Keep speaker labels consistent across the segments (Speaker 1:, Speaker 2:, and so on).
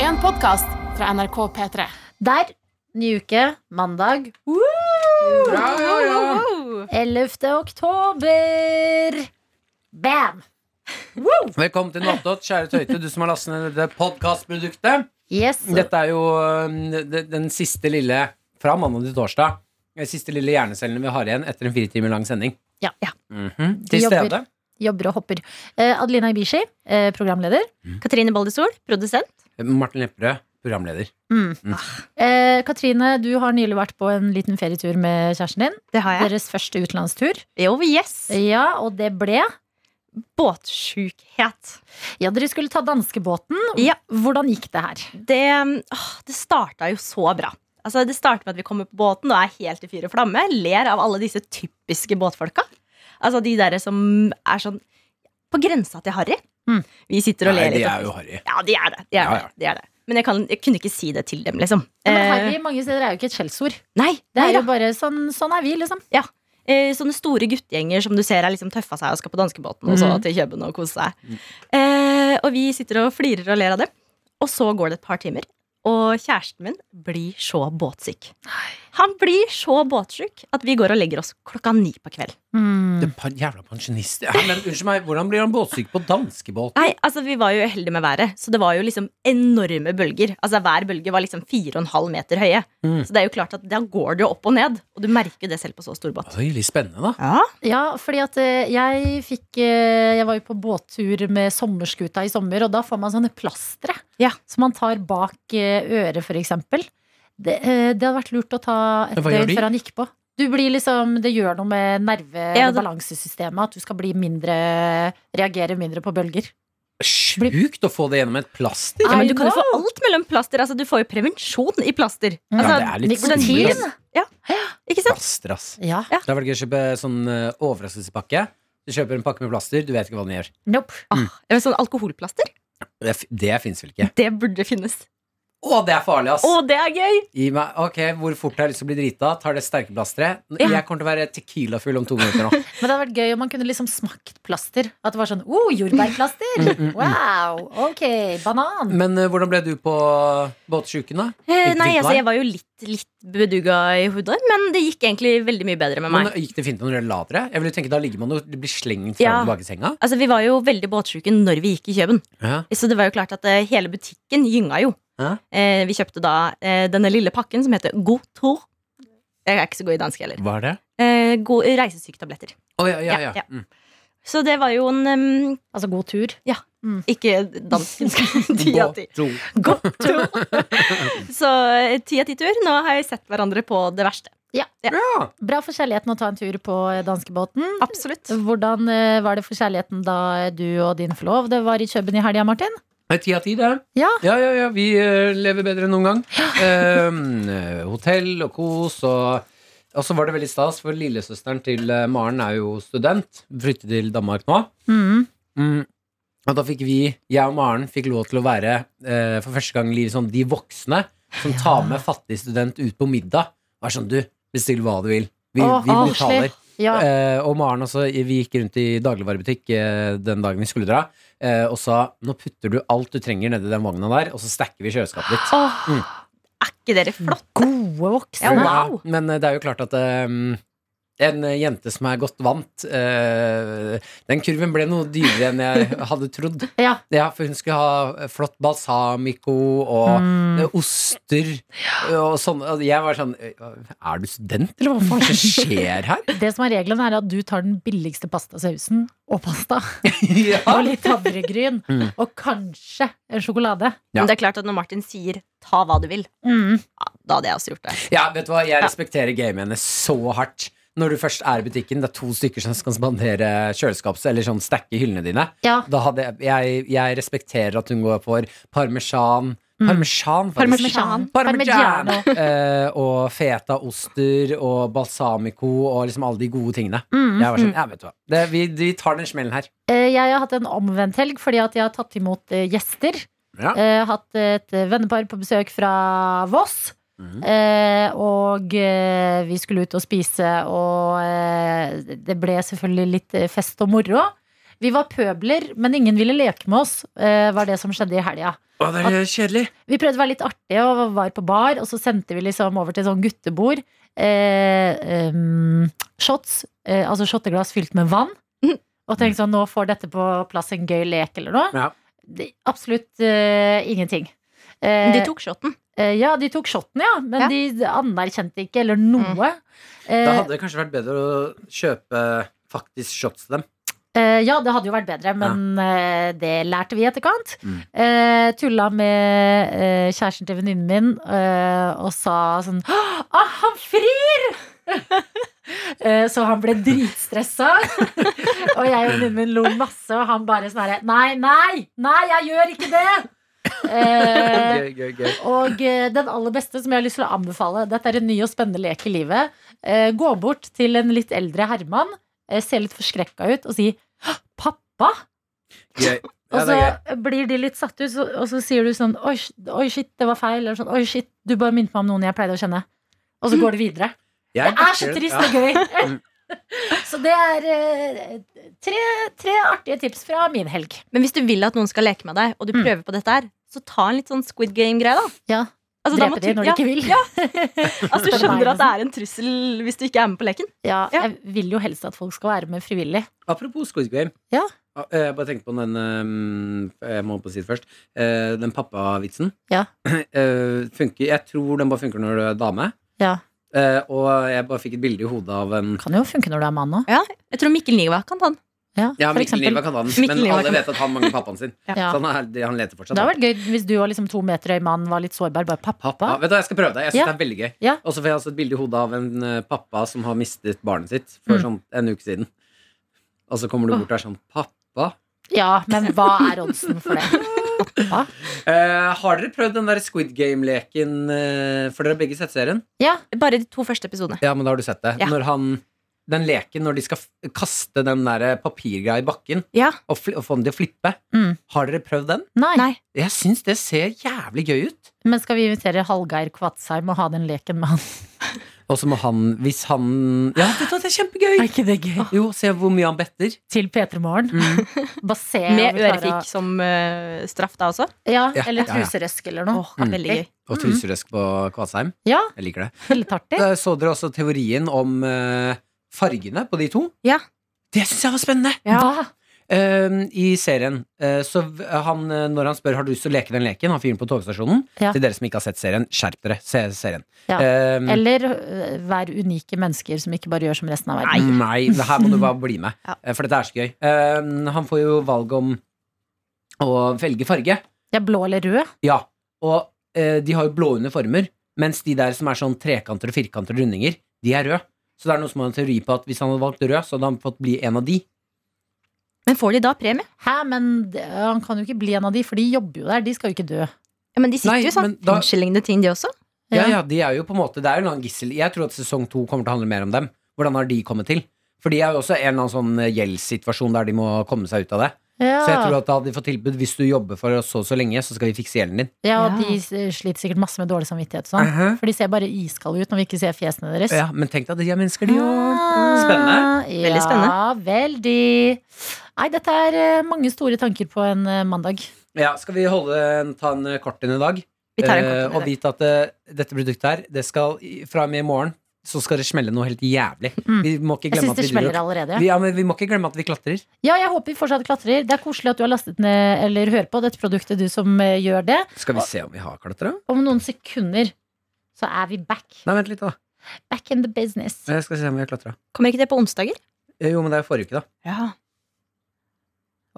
Speaker 1: en podkast fra NRK P3.
Speaker 2: Der. Ny uke. Mandag.
Speaker 3: Ja, ja, ja.
Speaker 2: 11. oktober. Bam!
Speaker 3: Velkommen til Nattåt, kjære Tøyte, du som har lastet ned dette podkastproduktet.
Speaker 2: Yes.
Speaker 3: Dette er jo øhm, det- den siste lille fra mandag til torsdag. Den siste lille hjernecellen vi har igjen etter en fire timer lang sending.
Speaker 2: Ja. ja.
Speaker 3: Mhm. Til
Speaker 2: Vi jobber.
Speaker 3: stede.
Speaker 2: Jobber og hopper. Eh, Adelina Ibishi, eh, programleder.
Speaker 4: Katrine Baldesol, produsent.
Speaker 3: Martin Lepperød, programleder.
Speaker 4: Mm. Ah.
Speaker 2: Eh, Katrine, du har nylig vært på en liten ferietur med kjæresten din.
Speaker 4: Det har jeg.
Speaker 2: Deres første utenlandstur.
Speaker 4: Jo, yes.
Speaker 2: Ja, og det ble
Speaker 4: Båtsjukhet.
Speaker 2: Ja, dere skulle ta danskebåten.
Speaker 4: Ja.
Speaker 2: Hvordan gikk det her?
Speaker 4: Det, åh, det starta jo så bra. Altså, det starter med at vi kommer på båten og er helt i fyr og flamme. Ler av alle disse typiske båtfolka. Altså de derre som er sånn på grensa til harry.
Speaker 2: Mm.
Speaker 4: Vi sitter og
Speaker 3: Nei,
Speaker 4: ler litt.
Speaker 3: de
Speaker 4: og-
Speaker 3: er jo harry.
Speaker 4: Ja, de er det. De er
Speaker 3: Ja, ja.
Speaker 4: det. De er det. Men jeg, kan, jeg kunne ikke si det til dem, liksom.
Speaker 2: Ja, men
Speaker 4: Eh,
Speaker 2: Harry mange steder er jo ikke et skjellsord.
Speaker 4: nei,
Speaker 2: Det
Speaker 4: nei
Speaker 2: er
Speaker 4: da.
Speaker 2: jo bare sånn, sånn er vi, liksom.
Speaker 4: Eh, sånne store guttegjenger som du ser er liksom tøffa seg og skal på danskebåten og så
Speaker 2: Mhm.
Speaker 4: til Køben og kose seg. Eh, og vi sitter og flirer og ler av dem. Og så går det et par timer, og kjæresten min blir så båtsyk. Han blir så båtsjuk at vi går og legger oss klokka ni på kvelden. Mm.
Speaker 3: Det par jævla pensjonist. Ja, men unnskyld meg, hvordan blir han båtsyk på danskebåt?
Speaker 4: Nei, altså Vi var jo uheldige med været, så det var jo liksom enorme bølger. Altså Hver bølge var liksom 4,5 meter høye.
Speaker 3: Mm.
Speaker 4: Så det er jo klart at da går det jo opp og ned. Og du merker jo det selv på så stor båt.
Speaker 3: Oi, litt spennende, da.
Speaker 4: Ja,
Speaker 2: Ja, fordi at eh, jeg fikk eh, Jeg var jo på båttur med sommerskuta i sommer, og da får man sånne plastre
Speaker 4: Ja.
Speaker 2: som man tar bak eh, øret, for eksempel. Det, eh, det hadde vært lurt å ta et
Speaker 3: Men hva gjør
Speaker 2: døgn
Speaker 3: de?
Speaker 2: før han gikk på. Du blir liksom, Det gjør noe med nerve-
Speaker 4: Ja,
Speaker 2: og
Speaker 4: det-
Speaker 2: balansesystemet at du skal bli mindre reagere mindre på bølger.
Speaker 3: Sjukt å få det gjennom et plaster.
Speaker 4: Ja, men
Speaker 2: I
Speaker 4: du kan jo få
Speaker 2: know.
Speaker 4: alt mellom plaster. Altså, du får jo prevensjon i plaster.
Speaker 2: Ja,
Speaker 4: Altså,
Speaker 3: det er litt
Speaker 4: hvordan-
Speaker 2: nikotin.
Speaker 4: Ikke sant?
Speaker 3: Plaster, ass.
Speaker 2: Ja.
Speaker 3: Da var det gøy å kjøpe sånn eh, overraskelsespakke. Du kjøper en pakke med plaster, du vet ikke hva den gjør.
Speaker 2: Nope.
Speaker 4: Eller sånn alkoholplaster.
Speaker 3: Det, f- det fins vel ikke?
Speaker 4: Det burde finnes.
Speaker 3: Å, det er farlig, ass!
Speaker 4: Å, det er gøy!
Speaker 3: Gi meg, ok, Hvor fort har jeg lyst til å bli drita? Tar det sterke plasteret? N-
Speaker 4: Ja.
Speaker 3: Jeg kommer til å være tequilafull om to minutter nå.
Speaker 2: Men det hadde vært gøy om man kunne liksom smakt plaster. At det var sånn oh,
Speaker 4: Mm,
Speaker 3: Mm.
Speaker 2: jordbærplaster! Wow! Ok, banan!
Speaker 3: Men eh, hvordan ble du på båtsjuken, da?
Speaker 4: Eh,
Speaker 3: Ikke
Speaker 4: Nei,
Speaker 3: dritt
Speaker 4: altså,
Speaker 3: vær.
Speaker 4: jeg var jo litt, litt beduga i hodet, men det gikk egentlig veldig mye bedre med
Speaker 3: Men eh,
Speaker 4: meg.
Speaker 3: Gikk det fint når dere la dere? Jeg ville tenke Da ligger man jo det blir slengt fra
Speaker 4: Ja.
Speaker 3: og tilbake i senga.
Speaker 4: Altså, Vi var jo veldig båtsjuke når vi gikk i Kjøben.
Speaker 3: Ja.
Speaker 4: Så det var jo klart at eh, hele butikken gynga jo.
Speaker 3: Ja.
Speaker 4: Eh, Vi kjøpte da eh, denne lille pakken som heter God Tour. Jeg er ikke så god i dansk heller.
Speaker 3: Hva er det?
Speaker 4: Eh, god- Reisesyketabletter.
Speaker 3: Å ja, ja,
Speaker 4: Ja,
Speaker 3: ja.
Speaker 4: ja.
Speaker 3: Mm.
Speaker 4: Så det var jo en em,
Speaker 2: Altså god tur.
Speaker 4: Ikke dansken. Ti av ti.
Speaker 3: Båtro.
Speaker 4: Godt to. Så eh, ti av ti tur. Nå har jeg sett hverandre på det verste.
Speaker 3: Ja.
Speaker 2: Bra for kjærligheten å ta en tur på danskebåten.
Speaker 4: Absolutt.
Speaker 2: Hvordan eh, var det for kjærligheten da du og din forlovede var i Køben i helga, Martin?
Speaker 3: Det er Ti av ti, det.
Speaker 2: Ja.
Speaker 3: ja, ja, ja. Vi eh, lever bedre enn noen gang. Eh, hotell og kos og Og så var det veldig stas, for lillesøsteren til eh, Maren er jo student. Flytter til Danmark nå.
Speaker 2: Mm.
Speaker 3: Mm. Og da fikk vi, jeg og Maren, fikk lov til å være eh, for første gang i livet sånn de voksne som tar med fattig student ut på middag. Og er sånn, du, bestill hva du vil. Vi,
Speaker 2: Åh,
Speaker 3: vi
Speaker 2: koselig.
Speaker 3: betaler.
Speaker 2: Ja.
Speaker 3: Eh, og Maren også, vi gikk rundt i dagligvarebutikk eh, den dagen vi skulle dra, eh, og sa nå putter du alt du trenger nedi den vogna der, og så stacker vi kjøleskapet ditt.
Speaker 4: Åh, Er ikke dere flott?
Speaker 2: Gode
Speaker 4: Ja,
Speaker 2: voksne.
Speaker 4: wow.
Speaker 3: Men eh, det er jo klart at eh, en jente som er godt vant eh, Den kurven ble noe dyrere enn jeg hadde trodd.
Speaker 2: Ja.
Speaker 3: Ja, for hun skulle ha flott balsamico og
Speaker 2: Mm.
Speaker 3: eh, oster og sånn. Og jeg var sånn eh, Er du student, eller hva faen er det som skjer her?
Speaker 2: Det som er regelen, er at du tar den billigste pastasausen og pasta.
Speaker 3: ja.
Speaker 2: Og litt havregryn.
Speaker 3: Mm.
Speaker 2: Og kanskje en sjokolade.
Speaker 3: Ja.
Speaker 4: Men det er klart at når Martin sier 'ta hva du vil',
Speaker 2: Mm.
Speaker 4: ja, da hadde jeg også gjort det.
Speaker 3: ja, vet du hva, jeg respekterer gamet hennes så hardt. Når du først er i butikken, det er to stykker som skal spandere kjøleskaps- eller sånn stacke hyllene dine.
Speaker 2: Ja.
Speaker 3: Da hadde jeg, jeg, jeg respekterer at hun går for parmesan. Parmesan, faktisk.
Speaker 2: Mm. Parmesan.
Speaker 3: Parmesan.
Speaker 2: Parmigiano.
Speaker 3: Eh, og fetaoster og balsamico og liksom alle de gode tingene.
Speaker 2: Mm.
Speaker 3: Jeg var sånn, ja, vet du hva. Det, vi, vi tar den smellen her.
Speaker 2: Eh, Jeg har hatt en omvendt helg fordi at jeg har tatt imot eh, gjester.
Speaker 3: Ja.
Speaker 2: Eh, Hatt et vennepar på besøk fra Voss. Eh, og eh, vi skulle ut og spise, og eh, det ble selvfølgelig litt eh, fest og moro. Vi var pøbler, men ingen ville leke med oss, eh, var det som skjedde i helga.
Speaker 3: Å, det er kjedelig.
Speaker 2: Vi prøvde å være litt artige og var på bar, og så sendte vi liksom over til sånn guttebord. Eh, em, shots, eh, altså shotteglass fylt med vann.
Speaker 4: Mhm.
Speaker 2: Og tenkte sånn, nå får dette på plass en gøy lek eller noe.
Speaker 3: Ja.
Speaker 2: Det, absolutt eh, ingenting. Eh,
Speaker 4: De tok shoten.
Speaker 2: eh, ja, de tok shotten, ja, men
Speaker 4: Ja. Mm.
Speaker 2: de anerkjente ikke eller noe.
Speaker 3: Da
Speaker 2: Eh,
Speaker 3: hadde det kanskje vært bedre å kjøpe faktisk shots til dem.
Speaker 2: Eh, ja, det hadde jo vært bedre, men eh, det lærte vi i etterkant.
Speaker 3: Mm.
Speaker 2: Eh, tulla med eh, kjæresten til venninnen min eh, og sa sånn Å, han frir! Eh, Så han ble dritstressa. og jeg og venninnen min lo masse, og han bare sånn herre Nei, nei! Nei, jeg gjør ikke det! Eh,
Speaker 3: Gøy, gøy, gøy.
Speaker 2: og eh, den aller beste som jeg har lyst til å anbefale Dette er en ny og spennende lek i livet Eh, Gå bort til en litt eldre herremann eh, Se litt forskrekka ut Og si «Hå, Pappa
Speaker 3: gøy.
Speaker 2: Og
Speaker 3: Ja, det
Speaker 2: så
Speaker 3: er gøy.
Speaker 2: blir de litt satt ut så, Og så sier du sånn Oi, sh- oi shit, det var feil Eller sånn, oi shit, du bare minnet meg om noen jeg pleide å kjenne Og så går det videre
Speaker 3: Jeg
Speaker 2: Det er så
Speaker 3: backer den.
Speaker 2: trist og gøy
Speaker 3: Mm.
Speaker 2: Så det er eh, tre, tre artige tips fra min helg
Speaker 4: Men hvis du vil at noen skal leke med deg, og du
Speaker 2: Mm.
Speaker 4: prøver på dette her, så ta en litt sånn Squid Game-greie, da.
Speaker 2: Ja,
Speaker 4: Altså, da må
Speaker 2: dreper de
Speaker 4: du-
Speaker 2: når
Speaker 4: ja,
Speaker 2: de ikke vil
Speaker 4: Ja, altså, du
Speaker 2: Spør meg,
Speaker 4: skjønner at det
Speaker 2: liksom.
Speaker 4: er en trussel hvis du ikke er med på leken.
Speaker 2: ja,
Speaker 4: Ja.
Speaker 2: jeg vil jo helst at folk skal være med frivillig
Speaker 3: Apropos Squid Game.
Speaker 2: Ja.
Speaker 3: Ah, eh, Jeg bare tenkte på den ehm, Jeg må på si det først. Eh, Den pappavitsen.
Speaker 2: Ja.
Speaker 3: Eh, Funker Jeg tror den bare funker når du er dame.
Speaker 2: Ja,
Speaker 3: Eh, Og jeg bare fikk et bilde i hodet av en
Speaker 2: kan jo funke når du er mann også
Speaker 4: Jeg tror Mikkel Niva kan ta den.
Speaker 2: Ja,
Speaker 3: Ja,
Speaker 2: for
Speaker 3: Mikkel
Speaker 2: eksempel.
Speaker 3: Niva kan ha den,
Speaker 4: Mikkel
Speaker 3: men
Speaker 4: Niva
Speaker 3: alle
Speaker 4: kan-
Speaker 3: vet at han mangler pappaen sin.
Speaker 2: Ja.
Speaker 3: Så han, er, han leter
Speaker 2: Det
Speaker 3: fortsatt.
Speaker 2: hadde vært gøy hvis du og liksom to meter høy mann var litt sårbar. Bare pappa.
Speaker 3: Pappa. Vet du, hva, Jeg skal prøve det. Jeg synes
Speaker 2: Ja.
Speaker 3: det er veldig gøy.
Speaker 2: Ja.
Speaker 3: Og så får jeg også et bilde i hodet av en eh, pappa som har mistet barnet sitt for
Speaker 2: Mm.
Speaker 3: sånn en uke siden. Og så kommer du bort og er sånn Pappa?
Speaker 2: Ja, men hva er oddsen for det? Pappa?
Speaker 3: Eh, har dere prøvd den der Squid Game-leken? eh, for dere har begge sett serien?
Speaker 2: Ja,
Speaker 4: Bare de to første episodene.
Speaker 3: Ja, men da har du sett det.
Speaker 4: Ja.
Speaker 3: Når han den leken når de skal f kaste den der eh, papirgreia i bakken
Speaker 4: Ja.
Speaker 3: og, fli og få den til å flippe.
Speaker 2: Mm.
Speaker 3: Har dere prøvd den?
Speaker 2: nei.
Speaker 4: Nei.
Speaker 3: Jeg syns det ser jævlig gøy ut.
Speaker 2: Men skal vi invitere Hallgeir Kvatsheim og ha den leken med han?
Speaker 3: Og så må han, hvis han Ja, vet du hva, det er kjempegøy!
Speaker 2: Er ikke det gøy?
Speaker 3: Jo, se hvor mye han better.
Speaker 2: Til P3 Morgen.
Speaker 3: Mm.
Speaker 2: Basé
Speaker 4: Med ørefik som eh, straff da også.
Speaker 2: Ja,
Speaker 3: Ja,
Speaker 2: eller
Speaker 3: ja, ja.
Speaker 2: truserøsk eller
Speaker 4: Åh,
Speaker 2: noe.
Speaker 3: Mm.
Speaker 4: Veldig gøy.
Speaker 3: Og truserøsk på Kvadsheim.
Speaker 2: Ja,
Speaker 3: Jeg liker det.
Speaker 2: veldig artig.
Speaker 3: Da så dere også teorien om eh, fargene på de to?
Speaker 4: Ja.
Speaker 3: Det syns jeg var spennende!
Speaker 2: Hva?
Speaker 3: Ehm, I serien eh, Så v- han, eh, når han spør Har du lyst til å leke den leken Han fyren på togstasjonen
Speaker 2: Ja.
Speaker 3: Til dere som ikke har sett serien Skjerp dere, se serien
Speaker 2: Ja.
Speaker 3: Ehm,
Speaker 2: Eller øh, vær unike mennesker som ikke bare gjør som resten av verden.
Speaker 3: Nei, det her må du bare bli med
Speaker 4: Ja.
Speaker 3: Eh, For dette er så gøy Ehm, Han får jo valg om Å velge farge
Speaker 2: Jeg er blå eller rød.
Speaker 3: Ja, og eh, de har jo blå uniformer Mens de der som er sånn trekanter og firkanter og rundinger De er rød Så det er noen som har en teori på at Hvis han hadde valgt rød Så hadde han fått bli en av de
Speaker 4: Men får de da premie?
Speaker 2: Hæ, men det- han kan jo ikke bli en av de, for de jobber jo der. De skal jo ikke dø.
Speaker 4: Ja, men de sitter
Speaker 3: Nei,
Speaker 4: jo i sånn
Speaker 3: men da-
Speaker 4: fengselslignende ting, de også.
Speaker 3: Ja,
Speaker 2: Ja.
Speaker 3: ja, de er jo på en måte Det er jo en annen gissel Jeg tror at sesong to kommer til å handle mer om dem Hvordan har de kommet til? For de er jo også en eller annen sånn eh, gjeldssituasjon Der de må komme seg ut av det
Speaker 2: Ja.
Speaker 3: Så jeg tror at da hadde de fått tilbud Hvis du jobber for oss så og så lenge Så skal vi fikse gjelden din
Speaker 2: Ja, og
Speaker 4: Ja.
Speaker 2: de s- sliter sikkert masse med dårlig samvittighet og sånn. For de ser bare iskalde ut når vi ikke ser fjesene deres.
Speaker 3: Ja, men tenk deg at de er mennesker de jo
Speaker 2: Ah,
Speaker 3: Spennende.
Speaker 2: Ja,
Speaker 4: Veldig spennende.
Speaker 2: veldig. Nei, dette er eh, mange store tanker på en eh, mandag.
Speaker 3: Ja, skal vi holde, en- ta en eh, kort inn i dag
Speaker 4: Vi tar en
Speaker 3: Eh,
Speaker 4: kort
Speaker 3: Og
Speaker 4: med det.
Speaker 3: vite at eh, dette produktet her Det skal, i- fra og med i morgen Så skal det smelle noe helt jævlig
Speaker 2: Mm.
Speaker 3: Vi må ikke
Speaker 2: Jeg
Speaker 3: glemme
Speaker 2: syns
Speaker 3: at
Speaker 2: det
Speaker 3: vi
Speaker 2: smeller
Speaker 3: driver
Speaker 2: allerede.
Speaker 3: vi, ja, men vi må ikke glemme at vi klatrer
Speaker 2: Ja, jeg håper vi fortsatt klatrer. Det er koselig at du har lastet ned eller hører på dette produktet, du som eh, gjør det.
Speaker 3: Skal vi se om vi har klatret?
Speaker 2: Om noen sekunder så er vi back.
Speaker 3: Nei, vent litt da
Speaker 2: Back in the business.
Speaker 3: Jeg Eh, skal se om vi har klatret
Speaker 4: Kommer ikke det på onsdager?
Speaker 3: Eh, Jo, men det er forrige uke da
Speaker 4: Ja.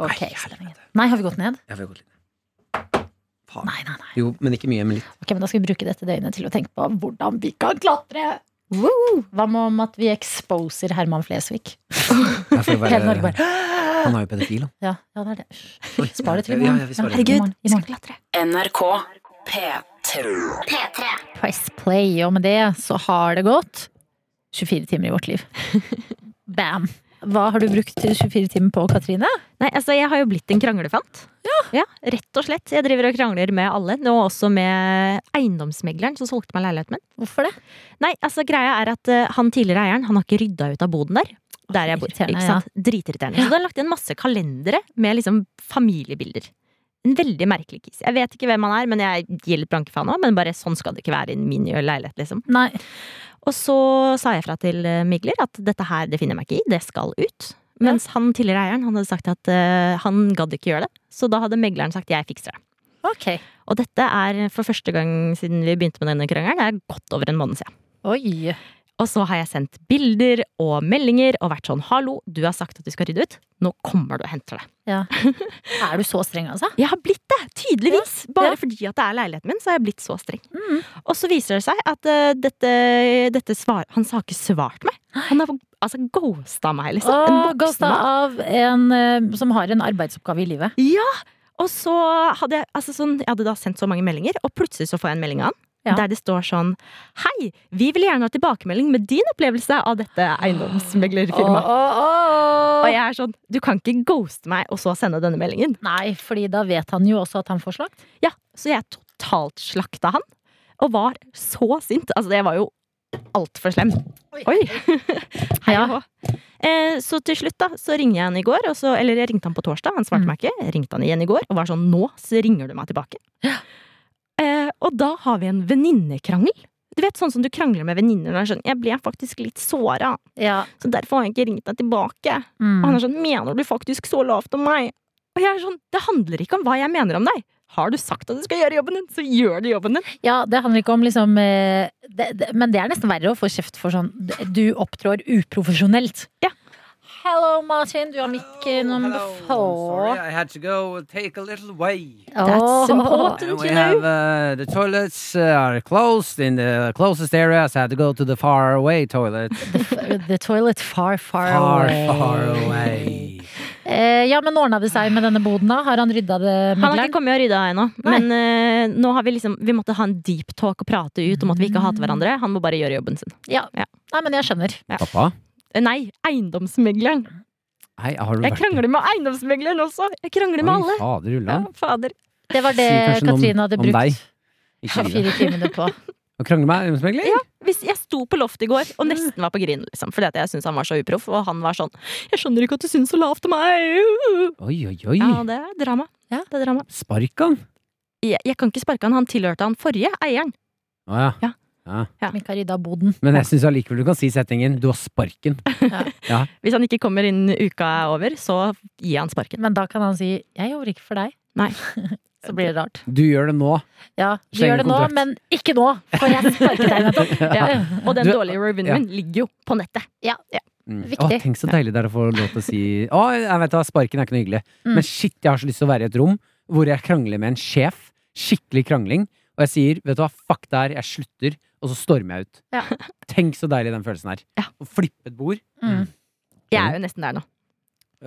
Speaker 2: Ok,
Speaker 3: Nei,
Speaker 2: spenningen. Nei, har vi gått ned?
Speaker 3: Jeg får gå litt ned. Faen.
Speaker 2: Nei, nei, nei.
Speaker 3: Jo, men ikke mye, men litt.
Speaker 2: Ok, men Da skal vi bruke dette døgnet til å tenke på hvordan vi kan klatre. Hva med om at vi exposer Herman Flesvig? Hele Norge bare
Speaker 3: han er jo pedofil, han.
Speaker 2: Ja, ja det er det. Spar det til i
Speaker 3: Ja,
Speaker 2: morgen.
Speaker 3: ja, vi
Speaker 2: I
Speaker 3: sparer det.
Speaker 4: Herregud,
Speaker 2: morgen, i
Speaker 4: vi skal
Speaker 2: morgen.
Speaker 4: klatre.
Speaker 5: NRK P3.
Speaker 2: Press play, og med det så har det gått 24 timer i vårt liv. Bam. Hva har du brukt 24 timer på, Katrine?
Speaker 4: Nei, altså jeg har jo blitt en kranglefant. Ja. Rett og slett. Jeg driver og krangler med alle. Nå også med eiendomsmegleren som solgte meg leiligheten min.
Speaker 2: Hvorfor det?
Speaker 4: Nei, altså greia er at eh, han tidligere eieren, han har ikke rydda ut av boden der. Der jeg bor.
Speaker 2: irriterende,
Speaker 4: Ikke sant? Dritirriterende. Så da har jeg lagt inn masse kalendere med liksom familiebilder. En veldig merkelig kis. Jeg vet ikke hvem han er, men jeg gir litt blanke faen òg. Men bare sånn skal det ikke være i min nye leilighet, liksom.
Speaker 2: Nei.
Speaker 4: Og så sa jeg fra til eh, Migler at dette her det finner jeg meg ikke i, det skal ut. Mens han tidligere eieren han hadde sagt at eh, han gadd ikke gjøre det. Så da hadde megleren sagt jeg fikser det.
Speaker 2: Ok.
Speaker 4: Og dette er for første gang siden vi begynte med denne krangelen, det er godt over en måned siden.
Speaker 2: Oi.
Speaker 4: Og så har jeg sendt bilder og meldinger og vært sånn hallo, du har sagt at du skal rydde ut, nå kommer du og henter det.
Speaker 2: Er du så streng, altså?
Speaker 4: Jeg har blitt det, tydeligvis. Bare
Speaker 2: Ja. Mm.
Speaker 4: fordi at det er leiligheten min, så har jeg blitt så streng. Og så viser det seg at eh, dette, dette svar, han har ikke svart meg. Han har altså ghosta meg, liksom. En
Speaker 2: Og
Speaker 4: voksen
Speaker 2: ghosta
Speaker 4: mann.
Speaker 2: av en eh, som har en arbeidsoppgave i livet.
Speaker 4: Ja! Og så hadde jeg, altså sånn, jeg hadde da sendt så mange meldinger, og plutselig så får jeg en melding av han.
Speaker 2: Ja.
Speaker 4: Der det står sånn Hei, vi vil gjerne ha tilbakemelding med din opplevelse av dette eiendomsmeglerfirmaet. Og jeg er sånn, du kan ikke ghoste meg og så sende denne meldingen.
Speaker 2: Nei, fordi da vet han jo også at han får slakt.
Speaker 4: Ja, så jeg totalt slakta han. Og var så sint. Altså, det var jo altfor slem. Oi! Hei og hå. Eh, Så til slutt da, så ringer jeg han i går, og så, eller jeg ringte han på torsdag, han svarte
Speaker 2: Mm.
Speaker 4: meg ikke. Jeg ringte han igjen i går og var sånn, nå så ringer du meg tilbake. Eh, og da har vi en venninnekrangel. Du vet sånn som du krangler med venninner, og er sånn, jeg ble faktisk litt såra,
Speaker 2: Ja.
Speaker 4: så derfor har jeg ikke ringt deg tilbake. Og han
Speaker 2: Mm.
Speaker 4: er sånn, mener du faktisk så lavt om meg? Og jeg er sånn, det handler ikke om hva jeg mener om deg. Har du sagt at du skal gjøre jobben din, så gjør du jobben din.
Speaker 2: ja, det handler ikke om liksom eh, det, det, Men det er nesten verre å få kjeft for sånn Du opptrår uprofesjonelt.
Speaker 4: Ja.
Speaker 2: Hello, Martin. Du har mic eh, number
Speaker 6: Sorry,
Speaker 2: four.
Speaker 6: I had to go take a little way.
Speaker 2: Åh.
Speaker 4: important.
Speaker 6: And
Speaker 4: Didn't
Speaker 6: we
Speaker 4: you know?
Speaker 6: have uh, the toilets uh, are closed in the closest area, so I had to go to the far away toilet.
Speaker 2: The toilet far, far,
Speaker 6: Far,
Speaker 2: away.
Speaker 6: far away.
Speaker 2: Eh, ja, men ordna det seg med denne boden, da? Har han rydda det,
Speaker 4: Han har ikke
Speaker 2: megleren?
Speaker 4: kommet og rydda ennå,
Speaker 2: Nei.
Speaker 4: men eh, nå har vi liksom Vi måtte ha en deep talk og prate ut om at vi ikke hater hverandre. Han må bare gjøre jobben sin.
Speaker 2: Ja.
Speaker 4: Ja.
Speaker 2: Nei, men jeg skjønner.
Speaker 3: Pappa?
Speaker 4: Eh, Nei, eiendomsmegleren.
Speaker 3: Hei, har du
Speaker 4: Jeg
Speaker 3: vært
Speaker 4: krangler med eiendomsmegleren også! Jeg krangler med alle.
Speaker 3: Oi, fader,
Speaker 4: Ja,
Speaker 3: Ulland.
Speaker 4: fader.
Speaker 2: Det var det
Speaker 3: Sier kanskje noe om-
Speaker 2: Katrine hadde
Speaker 3: om deg.
Speaker 2: brukt
Speaker 3: Ikke livet.
Speaker 2: fire timene på.
Speaker 3: Å krangle med eiendomsmegler?
Speaker 4: Ja. Hvis jeg sto på loftet i går og nesten var på grin, liksom, fordi at jeg syntes han var så uproff, og han var sånn 'Jeg skjønner ikke at du syns så lavt om meg'.
Speaker 3: Oi, oi, oi.
Speaker 4: Ja, det er drama.
Speaker 2: Ja.
Speaker 4: Det er drama.
Speaker 3: Spark han.
Speaker 4: Jeg, jeg kan ikke sparke han, han tilhørte han forrige eieren.
Speaker 3: Å ja.
Speaker 4: Ja.
Speaker 2: Som ikke har rydda boden.
Speaker 3: Men jeg syns allikevel du kan si setningen 'du har sparken'.
Speaker 4: Hvis han ikke kommer innen uka er over, så gir jeg han sparken.
Speaker 2: Men da kan han si 'jeg gjorde ikke for deg'.
Speaker 4: Nei.
Speaker 2: Så blir det rart.
Speaker 3: Du gjør det nå.
Speaker 2: Ja, du
Speaker 3: Schengen
Speaker 2: gjør det nå,
Speaker 3: kontrakt.
Speaker 2: men ikke nå! For jeg sparket deg nettopp. Ja.
Speaker 4: Og den
Speaker 3: Du-
Speaker 4: dårlige reviewen
Speaker 3: ja.
Speaker 4: min ligger jo på nettet.
Speaker 3: Mm.
Speaker 2: Viktig.
Speaker 3: Å, tenk så deilig det er å få lov til å si Å, jeg vet hva, sparken er ikke noe hyggelig.
Speaker 2: Mm.
Speaker 3: Men shit, jeg har så lyst til å være i et rom hvor jeg krangler med en sjef. Skikkelig krangling. Og jeg sier, vet du hva, fuck det her, jeg slutter. Og så stormer jeg ut.
Speaker 2: Ja.
Speaker 3: Tenk så deilig den følelsen her.
Speaker 4: Ja.
Speaker 3: Å flippe et bord
Speaker 2: Mm.
Speaker 4: Jeg er jo nesten der nå.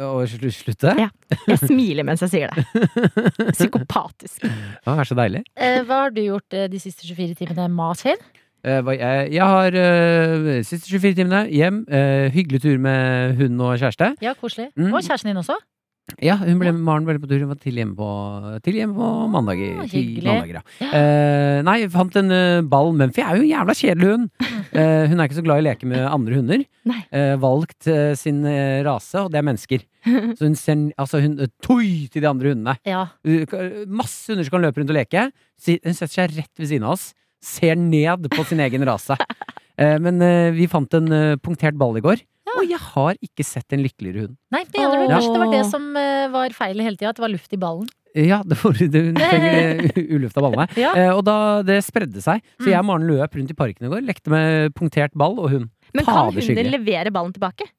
Speaker 3: og slu- slutte.
Speaker 4: Ja. Jeg smiler mens jeg sier det. Psykopatisk.
Speaker 3: Å, det er så deilig.
Speaker 2: Eh, hva har du gjort eh, de siste 24 timene, Martin?
Speaker 3: Eh, hva- jeg, jeg har eh, siste 24 timene hjem. eh, hyggelig tur med hund og kjæreste.
Speaker 2: Ja, koselig.
Speaker 3: Mm.
Speaker 2: Og kjæresten din også?
Speaker 3: Ja, hun ble Maren ble på tur. Hun var til hjemme på, til hjemme på mandager.
Speaker 2: Ah,
Speaker 3: til
Speaker 2: hyggelig.
Speaker 3: mandager, ja.
Speaker 2: Ja.
Speaker 3: Eh, nei, jeg fant en eh, ball. Mumphy er jo en jævla kjedelig hund. Eh, hun er ikke så glad i å leke med andre hunder.
Speaker 4: Nei.
Speaker 3: Eh, valgt eh, sin eh, rase, og det er mennesker. Så hun ser altså, hun, eh, Toi til de andre hundene.
Speaker 2: Ja.
Speaker 3: Hun kan- Masse hunder som kan løpe rundt og leke. Si- Hun setter seg rett ved siden av oss. Ser ned på sin egen rase. Eh, men eh, vi fant en eh, punktert ball i går. Og jeg har ikke sett en lykkeligere hund.
Speaker 2: Nei, mener du?
Speaker 4: Ja.
Speaker 2: Kanskje det var det som eh, var feil hele tida? At det var luft i ballen?
Speaker 3: Eh, Ja, det var, det, hun trenger eh, u- ulufta ballene.
Speaker 2: Ja.
Speaker 3: Eh, og da det spredde seg. Så
Speaker 2: Mm.
Speaker 3: jeg og Maren løp rundt i parken i går, lekte med punktert ball og hund.
Speaker 4: Men kan
Speaker 3: Fader, så
Speaker 4: hunder
Speaker 3: hyggelig.
Speaker 4: levere ballen tilbake?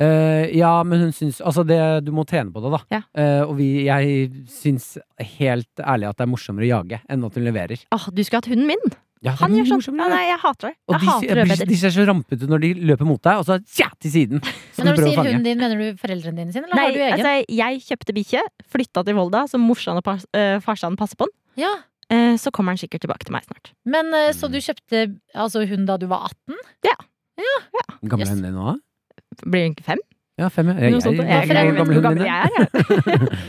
Speaker 3: Eh, ja, men hun syns Altså, det, du må trene på det, da.
Speaker 4: Ja.
Speaker 3: Eh, og vi, jeg syns helt ærlig at det er morsommere å jage enn at hun leverer.
Speaker 4: Åh, du skulle hatt hunden min!
Speaker 3: Ja, det er
Speaker 4: Han
Speaker 3: mye
Speaker 4: gjør sånn.
Speaker 3: morsommere å
Speaker 4: Ja,
Speaker 3: jage.
Speaker 4: nei, jeg hater det.
Speaker 3: Og
Speaker 4: Jeg
Speaker 3: de,
Speaker 4: hater
Speaker 3: jeg blir-
Speaker 4: rødbeter.
Speaker 3: de ser så rampete ut når de løper mot deg, og så tja, til siden.
Speaker 2: Men når
Speaker 3: prøver
Speaker 2: du
Speaker 3: å
Speaker 2: sier
Speaker 3: fange.
Speaker 2: hunden din, mener du foreldrene dine sine? Eller
Speaker 4: Nei,
Speaker 2: har du egen?
Speaker 4: altså, jeg kjøpte bikkje, flytta til Volda, så morsan og pas- øh, farsan passer på den.
Speaker 2: ja.
Speaker 4: Eh, Så kommer han sikkert tilbake til meg snart.
Speaker 2: Men eh, så du kjøpte altså, hund da du var 18?
Speaker 3: Hvor gammel er
Speaker 4: Yes.
Speaker 3: hun din nå, da?
Speaker 4: Blir hun ikke fem?
Speaker 3: Ja, fem, ja. Jeg,
Speaker 4: Noe
Speaker 3: jeg, Eh, jeg,
Speaker 4: sånt.
Speaker 3: jeg,
Speaker 4: Jeg, vet
Speaker 3: jeg,
Speaker 4: ikke hvor gammel jeg er. jeg.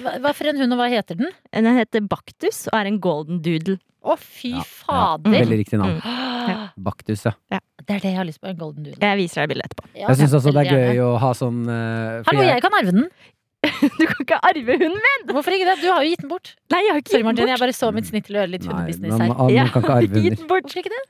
Speaker 2: Hva hva for en hund, og hva heter den?
Speaker 4: Den heter Baktus og er en golden doodle.
Speaker 2: Å, fy
Speaker 3: Ja, ja.
Speaker 2: fader!
Speaker 3: Veldig riktig navn.
Speaker 2: Ah,
Speaker 3: Baktus, ja.
Speaker 2: Det er det jeg har lyst på. En golden doodle.
Speaker 4: Jeg viser deg bildet etterpå.
Speaker 2: Ja,
Speaker 3: Jeg syns også det
Speaker 2: veldig
Speaker 3: er
Speaker 2: gjerne.
Speaker 3: gøy å ha sånn eh, for
Speaker 2: Hallo, jeg kan arve den.
Speaker 4: Du kan ikke arve hunden min!
Speaker 2: Hvorfor ikke det? Du har jo gitt den bort.
Speaker 4: Nei, jeg har ikke
Speaker 2: Sorry,
Speaker 4: gitt
Speaker 2: Martin.
Speaker 4: den
Speaker 2: Jeg
Speaker 4: bort.
Speaker 2: bare så mitt snitt til å gjøre litt
Speaker 3: Nei,
Speaker 2: hundebusiness
Speaker 3: man,
Speaker 2: her.
Speaker 3: man
Speaker 4: Ja.
Speaker 3: kan ikke arve
Speaker 4: Gi
Speaker 3: hunder.
Speaker 4: den bort.
Speaker 2: Hvorfor ikke det?